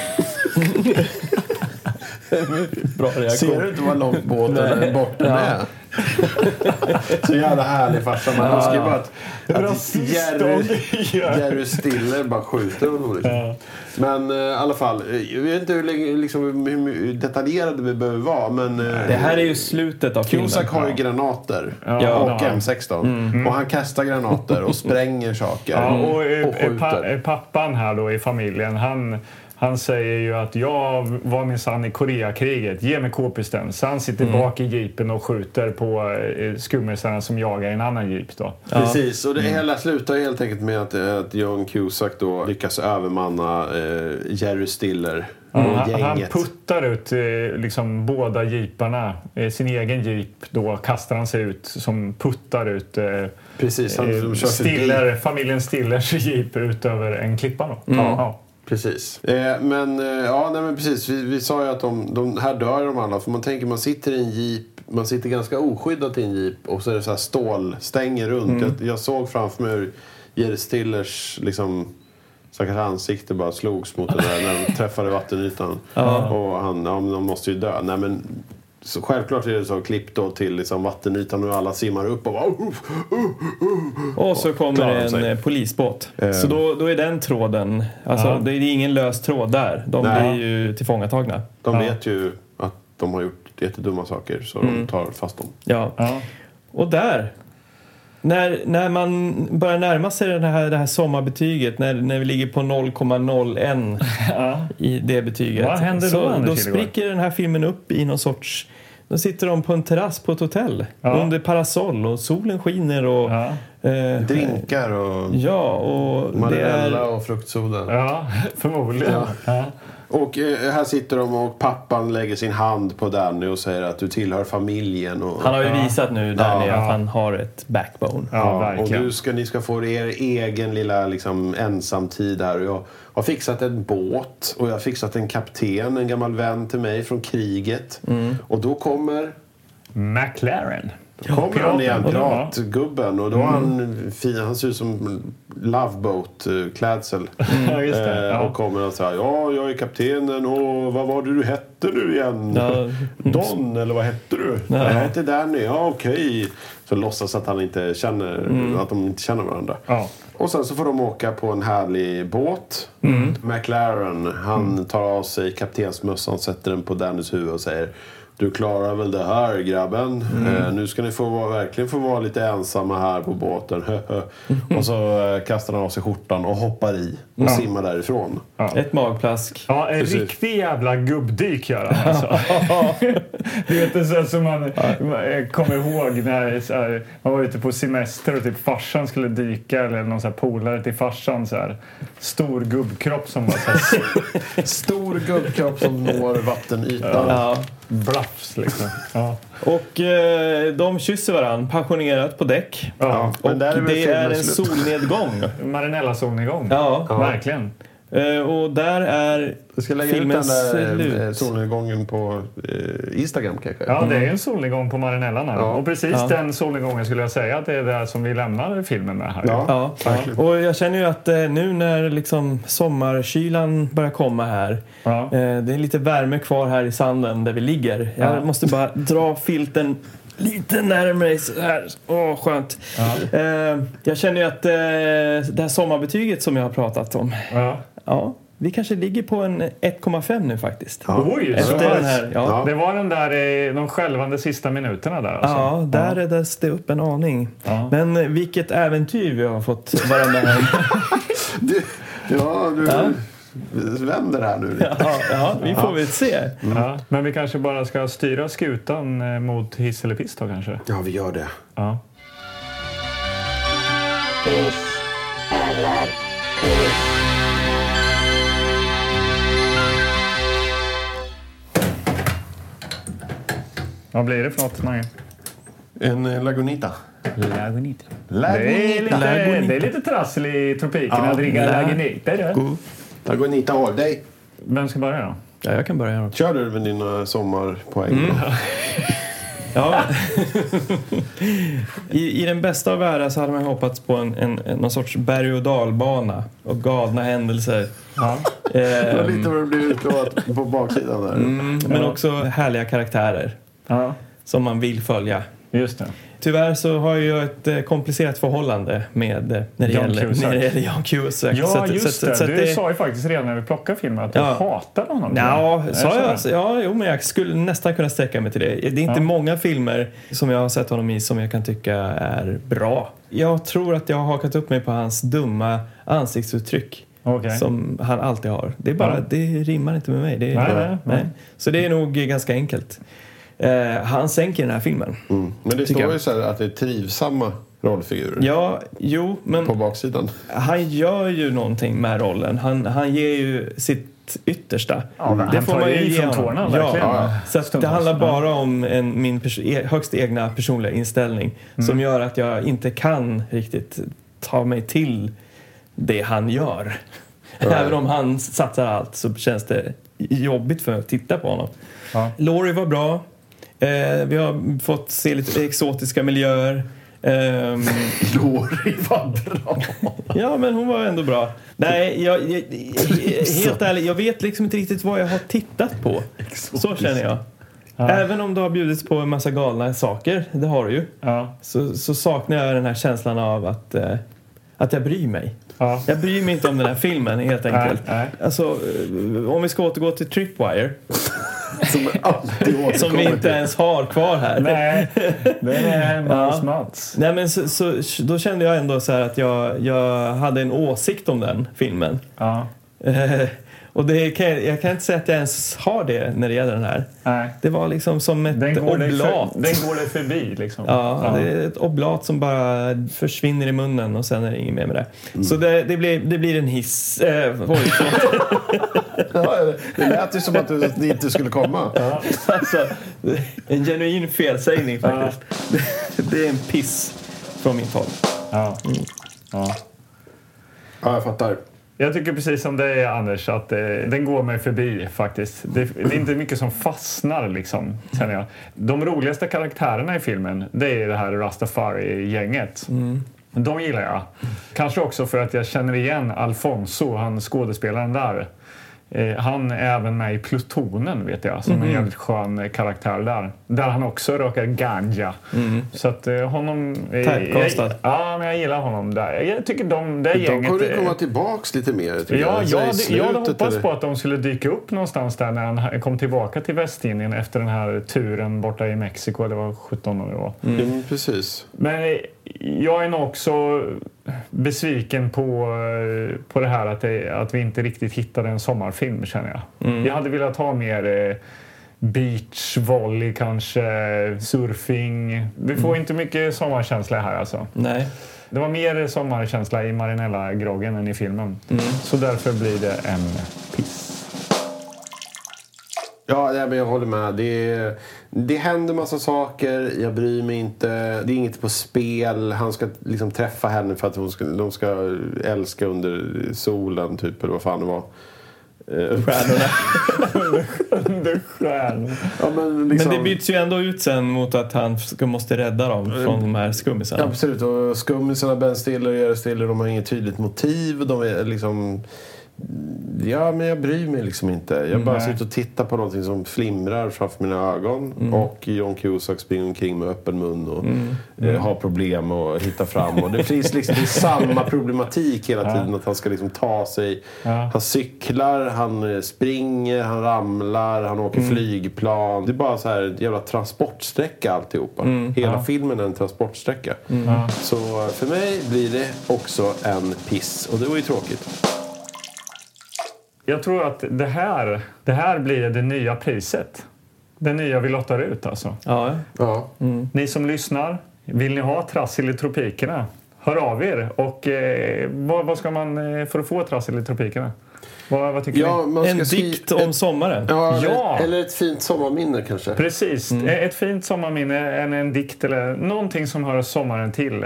Bra
Ser
reaktion.
du inte vad långt båten är bort den är? [laughs] Så jävla härlig farsa. Man önskar ju bara att, att
Rasist
Jerry,
de är.
Jerry Stiller bara skjuter honom. Liksom. Men eh, i alla fall, eh, jag vet inte hur, länge- liksom, hur detaljerade vi behöver vara. Men, eh,
Det här är ju slutet av filmen.
Cusack har ju granater
Ja,
och
det har han. Mm.
M16. Och han kastar granater
[laughs]
och spränger saker.
Ja, och, eh,
och
eh, pa,
skjuter.
eh, pappan här då i familjen, han, han säger ju att jag var minsann i Koreakriget, ge mig k-pisten. Så han sitter
Mm.
bak i jeepen och skjuter på eh, skummisarna som jagar en annan jeep då.
Precis, och det
Mm.
hela slutar ju helt enkelt med att, att John Cusack då lyckas övermanna eh, Jerry Stiller och
Han, han
gänget.
puttar ut eh, liksom båda jeeparna. Eh, sin egen jeep då kastar han sig ut som puttar ut eh,
Precis, han
eh,
de kör förbi.
stiller, familjen Stillers jeep ut över en klippa då. Ja.
Precis. Eh, men, eh, ja, nej, men precis, vi, vi sa ju att de, de här dör de alla. För man tänker, man sitter i en jeep, man sitter ganska oskyddat i en jeep och så är det så här stålstänger runt. Jag, jag såg framför mig hur Jerry Stillers liksom, stackars ansikte bara slogs mot det där när de träffade vattenytan. Och han, ja, men de måste ju dö. Nej, men, så självklart är det så klipp då till liksom vattenytan och alla simmar upp och bara...
Och så kommer
klarar de
en
sig. Ehm.
eh, polisbåt. Så då, då är den tråden. Alltså, det är ingen lös tråd där. De
Nej.
blir ju tillfångatagna.
De vet ju att de har gjort jättedumma saker så de tar fast dem.
Ja.
Ja.
Och där. När, när man börjar närma sig den här, det här sommarbetyget, när, när vi ligger på [laughs] 0,01 i det betyget.
Vad händer då,
så,
Anders
Då
Kinnegård?
spricker den här filmen upp i någon sorts... Då sitter de på en terrass på ett hotell
Ja.
under parasoll och solen skiner och...
Ja.
eh,
Drinkar och
ja, och det är...
Marella och fruktsoda.
Ja, förmodligen. Ja.
Och eh, här sitter de och pappan lägger sin hand på Danny och säger att du tillhör familjen. Och,
Han har ju visat nu Danny
Ja.
att han har ett backbone.
Ja,
och
verkligen.
du ska, ni ska få er egen lilla liksom, ensamtid här. Och jag har fixat en båt och jag har fixat en kapten, en gammal vän till mig från kriget.
Mm.
Och då kommer
McLaren.
kommer han igen,
piraten. Mm.
piratgubben. Och då har han, fin, han ser ut som Loveboat-klädsel.
Mm. Ja, just
Eh,
det. Ja.
Och kommer och säger ja, jag är kaptenen och vad var det du hette nu igen?
Ja.
Don, eller vad hette du? Jag hette Danny, ja okej. Så låtsas att, han inte känner,
Mm.
att de inte känner varandra.
Ja.
Och sen så får de åka på en härlig båt.
Mm.
McLaren, han tar av sig kaptensmössan, sätter den på Dannys huvud och säger du klarar väl det här grabben.
Mm.
Eh, nu ska ni få vara, verkligen få vara lite ensamma här på båten. [laughs] och så eh, kastar han av sig skjortan och hoppar i och simmar därifrån.
Ett magplask.
Ja, en
Precis.
riktig jävla gubbdyk gör han alltså. du vet, [laughs] det är så här som man eh, kommer ihåg när så här, man var ute på semester och typ farsan skulle dyka eller någon så här polare till farsan. Så här, stor gubbkropp som var så
[laughs]
här
Stor gubbkropp [laughs] som når vattenytan.
Ja.
blafs liksom. Ja.
Och eh, de kysser varandra passionerat på däck.
Ja.
Men
Och
där är väl
det är
filmen
en
slut. [laughs]
solnedgång.
Marinella solnedgång.
Ja.
Verkligen.
Eh, och där är
Jag ska lägga
filmen
ut den där eh,
slut.
solnedgången på eh, Instagram kanske.
Ja, det
Mm.
är en solnedgång på Marinellan här. Och precis den solnedgången skulle jag säga att det är det som vi lämnar filmen med här.
Ja.
Ja,
verkligen.
och jag känner ju att eh, nu när liksom sommarkylan börjar komma här.
Ja.
Eh, det är lite värme kvar här i sanden där vi ligger. Jag måste bara dra filten lite närmare så här. Åh, skönt. Eh, jag känner ju att eh, det här sommarbetyget som jag har pratat om.
Ja.
Ja, vi kanske ligger på en 1,5 nu faktiskt.
Oj, så
Efter den
pass.
här, ja.
Det var den där, eh, de skälvande sista minuterna där. Alltså.
Ja, där räddades det upp en aning. Men eh, vilket äventyr vi har fått vara med
[laughs]
om.
Du, ja, du
Ja.
vänder här nu lite.
Ja, ja, vi får väl se.
Ja. Men vi kanske bara ska styra skutan eh, mot hiss eller piss då kanske?
Ja, vi gör det.
Ja. Vad blir det för något, Mange?
En eh, Lagunita.
Lagunita. Det är
Lagunita.
lite,
Lagunita.
det är lite trassel i tropikerna
Ja.
att dricka
Lag-
lagunita. du.
Lagunita all day.
Vem ska börja då?
Ja, jag kan börja då.
Kör du med dina sommarpoäng?
Mm.
då?
Ja. [laughs] I, I den bästa av världar så hade man ju hoppats på en, en, en, någon sorts berg och dalbana och galna händelser.
Det
[laughs]
var
Eh,
lite vad det blev utlovat på baksidan där.
men också härliga karaktärer
Ja,
som man vill följa.
just det.
Tyvärr så har jag ju ett eh, komplicerat förhållande med eh, när det,
John
gäller,
Cusack.
när det gäller John Cusack.
Ja,
Så att-
just
så att-
det.
så att
du sa ju faktiskt redan när vi plockade filmen att du
Ja.
hatar honom.
Ja,
Är det
sa
så?
jag? alltså? Ja, jo, men jag skulle nästan kunna sträcka mig till det. Det är inte
Ja.
många filmer som jag har sett honom i som jag kan tycka är bra. Jag tror att jag har hakat upp mig på hans dumma ansiktsuttryck.
Okej.
Som han alltid har. Det, är bara,
Ja.
det rimmar inte med mig. Det är,
Nej, nej, nej.
Så det är nog ganska enkelt. Eh, han sänker den här filmen.
Men det
Tycker
står
jag.
ju så här att det är trivsamma rollfigurer
Ja, jo, men
på baksidan.
han gör ju någonting med rollen. Han, han ger ju sitt yttersta.
Ja, men han tar ju i från
honom.
tårna,
ja,
verkligen.
Så att det
Stundtals.
handlar
Ja.
bara om en, min pers- e- högst egna personliga inställning
Mm.
som gör att jag inte kan riktigt ta mig till det han gör. Även om han satsar allt så känns det jobbigt för mig att titta på honom.
Ja.
Laurie var bra. Eh, vi har fått se lite exotiska miljöer. Ehm,
Lori vad bra!
Ja, men hon var ändå bra. Nej, jag, jag, jag, helt ärligt, jag vet liksom inte riktigt vad jag har tittat på. Så känner jag. Även om det har bjudits på en massa galna saker, det har du ju,
Ja,
så, så saknar jag den här känslan av att, eh, att jag bryr mig.
ja.
Jag bryr mig inte om den här filmen helt enkelt.
Nej, nej.
Alltså, eh, om vi ska återgå till Tripwire,
Som alltid återkommer
som vi inte
till.
ens har kvar här.
Nej, det
[laughs]
är hemma
Ja.
hos Mats.
Nej men så, så, då kände jag ändå så här att jag, jag hade en åsikt om den filmen.
Ja.
Eh, och det kan, jag- jag kan inte säga att jag ens har det när det gäller den här.
Nej.
Det var liksom som ett
Den går, dig
oblat.
för, den går dig förbi liksom.
Ja, det är ett oblat som bara försvinner i munnen och sen är det inget mer med det. Så det, det, blir, det blir en hiss. Eh, oj, förlåt.
Ja, det lät ju som att du det inte skulle komma.
[laughs] alltså, en genuin felsägning faktiskt. [laughs] Det, det är en piss från mitt håll.
Ja. Ja.
Ja, jag fattar.
Jag tycker precis som dig Anders att eh, den går mig förbi faktiskt. Det, det är inte mycket som fastnar liksom, känner jag. De roligaste karaktärerna i filmen, det är det här Rastafari-gänget. De gillar jag. Kanske också för att jag känner igen Alfonso, han skådespelaren där. Eh, han är även med i Plutonen, vet jag, som en jävligt skön eh, karaktär där. Där han också röker ganja. Så att eh, honom... eh,
Typecastad.
jag- Ja, men jag gillar honom där. Jag tycker de, det
De
gänget...
kommer ju
eh,
komma tillbaks lite mer. tycker
Ja,
jag,
jag,
i
hade- jag hade
slutet,
hoppats
eller?
på att de skulle dyka upp någonstans där när han kom tillbaka till Västindien efter den här turen borta i Mexiko, eller vad 17 det var.
Mm, precis.
Men jag är nog också besviken på, eh, på det här att, det, att vi inte riktigt hittade en sommarfilm, känner jag.
Mm.
Jag hade velat ha mer eh, beach, volley kanske, surfing. Vi får
Mm.
inte mycket sommarkänsla här alltså.
Nej.
Det var mer sommarkänsla i Marinella-groggen än i filmen. Så därför blir det en piss.
Ja, nej, men jag håller med. Det, det händer massa saker, jag bryr mig inte. Det är inget på spel. Han ska liksom träffa henne för att hon ska, de ska älska under solen, typ, eller vad fan det var. Eh,
Stjärn.
Ja, men
Men
liksom,
det byts ju ändå ut sen mot att han ska, måste rädda dem
Eh,
från de här skummisarna.
Absolut, och skummisarna Ben Stiller och Jerry Stiller de har inget tydligt motiv. De är liksom... Ja, men jag bryr mig liksom inte. Jag bara
Nej.
sitter och tittar på någonting som flimrar framför mina ögon.
Mm.
Och John Cusack springer omkring med öppen mun och
Mm.
eh, har problem och hitta fram. Och det finns liksom det är samma problematik hela tiden. Att han ska liksom ta sig...
Ja.
Han cyklar, han eh, springer, han ramlar, han åker
Mm.
flygplan. Det är bara så här en jävla transportsträcka alltihopa.
Mm.
Hela filmen är en transportsträcka.
Mm.
Så eh, för mig blir det också en piss. Och det var ju tråkigt.
Jag tror att det här, det här blir det nya priset. Det nya vi lottar ut alltså.
Ja,
Ja.
Ni som lyssnar, vill ni ha trassel i tropikerna? Hör av er. Och eh, vad, vad ska man eh, för att få trassel i tropikerna? Vad, vad tycker
Ja,
ni?
man ska
en
skri-
dikt om sommaren.
Ja,
Ja!
Eller, eller ett fint sommarminne kanske.
Precis. Eh, Ett fint sommarminne, en, en dikt eller någonting som hör sommaren till.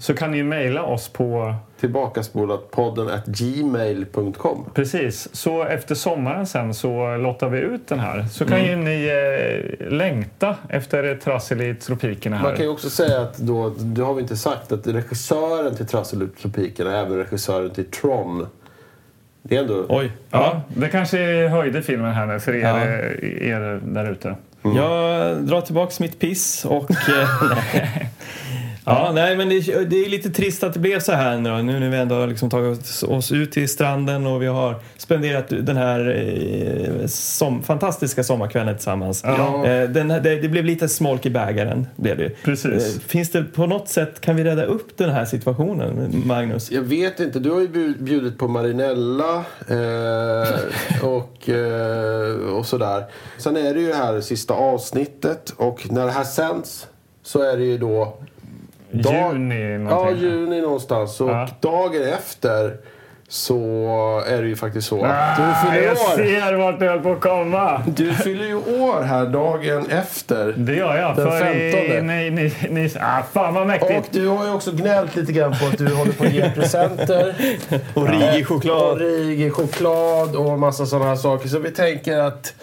Så kan ni ju mejla oss på...
Tillbakaspolat podden at gmail.com.
Precis. Så efter sommaren sen så lottar vi ut den här. Så
Mm.
kan ju ni eh, längta efter trassel i tropikerna här.
Man kan ju också säga att då, det har vi inte sagt, att regissören till Trassel och tropikerna är även regissören till Tron. Det är ändå...
Oj.
Ja, det kanske höjde filmen här nu för er, eh,
Ja.
er där ute.
Jag drar tillbaks mitt piss och...
[laughs]
eh, nej. Ja, nej, men det, det är lite trist att det blev så här nu då. Nu när vi ändå har liksom tagit oss ut till stranden och vi har spenderat den här eh, som, fantastiska sommarkvällen tillsammans.
Ja.
Eh, den, här- det, det blev lite smolk i bägaren. Blev det. ju.
Precis.
Eh, Finns det på något sätt, kan vi rädda upp den här situationen, Magnus?
Jag vet inte, du har ju bjud- bjudit på Marinella eh, och, eh, och sådär. Sen är det ju här sista avsnittet och när det här sänds så är det ju då Dag-
Juni
Ja,
någonting.
juni någonstans. Och
Ja.
dagen efter så är det ju faktiskt så att
Ah,
du fyller
jag
år.
ser vart du höll på att komma.
Du fyller ju år här dagen efter.
Det gör jag.
Den
för i,
15.
ni, ni, ni, ah, fan vad
Och
mäktigt.
du har ju också gnällt lite grann på att du håller på att ge presenter.
Och rigig choklad.
Origi choklad och massa sådana här saker. Så vi tänker att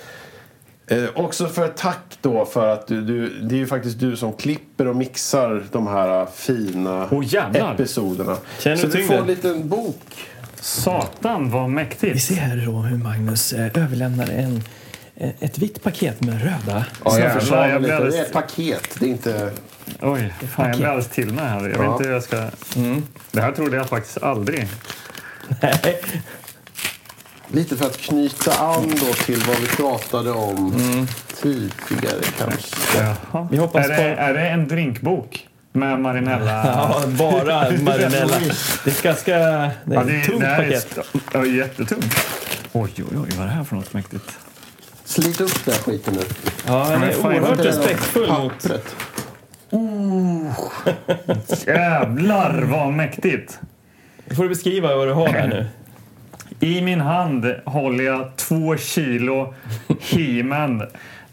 Eh, också för ett tack då för att du, du, det är ju faktiskt du som klipper och mixar de här eh, fina
Åh, jävlar.
episoderna.
Känner
så
du
du får
tyngden?
en liten bok
Satan vad
Vi
mäktigt.
ser här då hur Magnus eh, överlämnar en, eh, ett vitt paket med [laughs] röda
Ja,
Jävlar,
jag försvarar
jag
mig
blir
lite.
alldeles-
Det är ett paket. Det är inte...
Oj, fan jag blir alldeles till mig här. Jag vet
Ja. Mm.
inte hur jag ska... Det här trodde jag faktiskt aldrig.
Lite för att knyta an då till vad vi pratade om tidigare kanske.
Jaha.
Vi hoppas
är, det,
på-
är det en drinkbok med Marinella?
Ja, bara Marinella. Det är ganska... Det är
Ja,
ett
det,
tungt
det här
paket.
Är, st- ja, jättetungt. Oj, oj, oj, vad är det här för något mäktigt?
Slit upp den här skiten nu.
Ja, den
Men
är
fan,
oerhört
vad
är det
respektfull mot...
Pappret.
Jävlar vad mäktigt!
Får du beskriva vad du har här nu?
I min hand håller jag två kilo He-Man.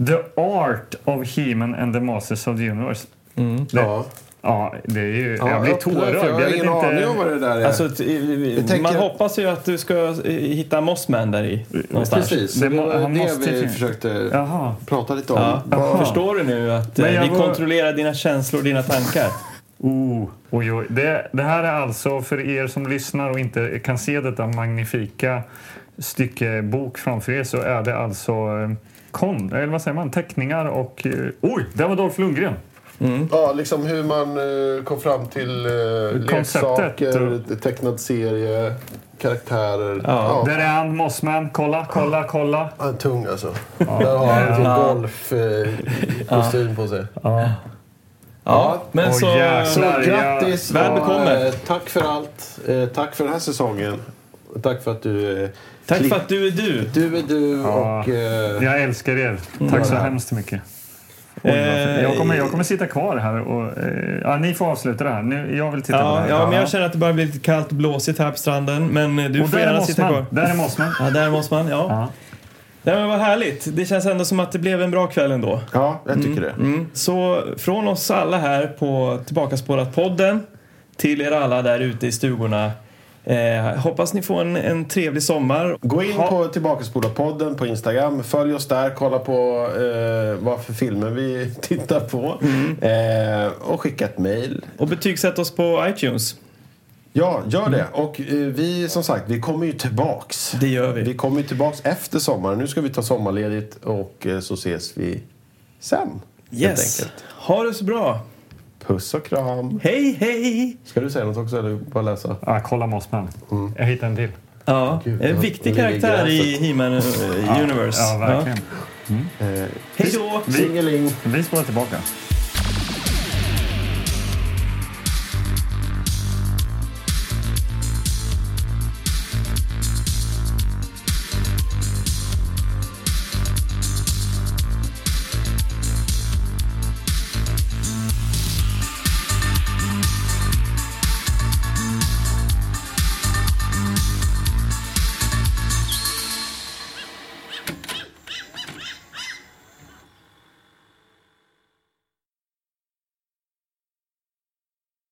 The Art of He-Man and the Masters of the Universe. Det, ja.
Ja.
det är ju...
Ja,
jag blir
öppna, för
tårögd.
Jag har
vet
ingen
inte-
aning om vad det där är.
Alltså, t-
tänker-
man hoppas ju att du ska eh, hitta Mossman där i någonstans.
Precis,
Det
det
må-
var
han
det
måste
vi
ju-
försökte
Jaha.
prata lite om.
Ja.
Vad-
Förstår du nu att
Men
eh,
jag
vi
var-
kontrollerar dina känslor och dina tankar?
Oh, oj, oj. Det, det här är alltså för er som lyssnar och inte kan se detta magnifika stycke bok framför er så är det alltså eh, kon, eller vad säger man, teckningar och... eh, Oj, där var Dolph Lundgren!
Ja, liksom hur man eh, kom fram till eh,
Konceptet
leksaker, tecknad serie, karaktärer. Ja.
Där är han, Mossman. Kolla, kolla, kolla.
Han är tung alltså. Där har han sin golfkostym på sig.
Ja, men
Åh,
så...
Så
jäklar. Sverige.
grattis!
Väl
och,
bekomme.
eh, Tack för allt. Eh, Tack för den här säsongen. Och Tack för att du... eh,
Tack
klipp-
för att du är du.
Du är du
Ja.
och... eh,
Jag älskar er. Tack så hemskt mycket.
Eh,
Oj, vad fint. Jag kommer, jag kommer sitta kvar här och... eh, Ja, ni får avsluta det här. Nu, jag vill titta på det
Ja,
här.
ja, men jag känner att det börjar bli lite kallt och blåsigt här på stranden. Men eh, du
och
får
där är
gärna sitta
Mossman.
kvar.
Där är Mossman.
Ja, där måste man. Ja.
Ja.
Nej, men vad härligt. Det känns ändå som att det blev en bra kväll ändå.
Ja, jag tycker det.
Så från oss alla här på Tillbakaspårat-podden till er alla där ute i stugorna. Eh, hoppas ni får en, en trevlig sommar.
Gå in på Tillbakaspola-podden på Instagram. Följ oss där. Kolla på eh, vad för filmer vi [laughs] tittar Mm. på. Eh, och skicka ett mejl.
Och betygsätt oss på iTunes.
Ja, gör det. Och eh, vi, som sagt, vi kommer ju tillbaks.
Det gör vi.
Vi kommer ju tillbaks efter sommaren. Nu ska vi ta sommarledigt och eh, så ses vi sen. helt
Yes.
enkelt.
Ha det så bra.
Puss och kram.
Hej, hej!
Ska du säga något också eller bara läsa?
Ah, kolla Mossman. Jag hittade en till.
Ja,
Gud,
en
jag-
viktig
jag ligger i
karaktär i
gräset.
He-Man eh, Universe.
Ja, verkligen.
Ja. Hej då!
Singeling.
Vi spårar tillbaka.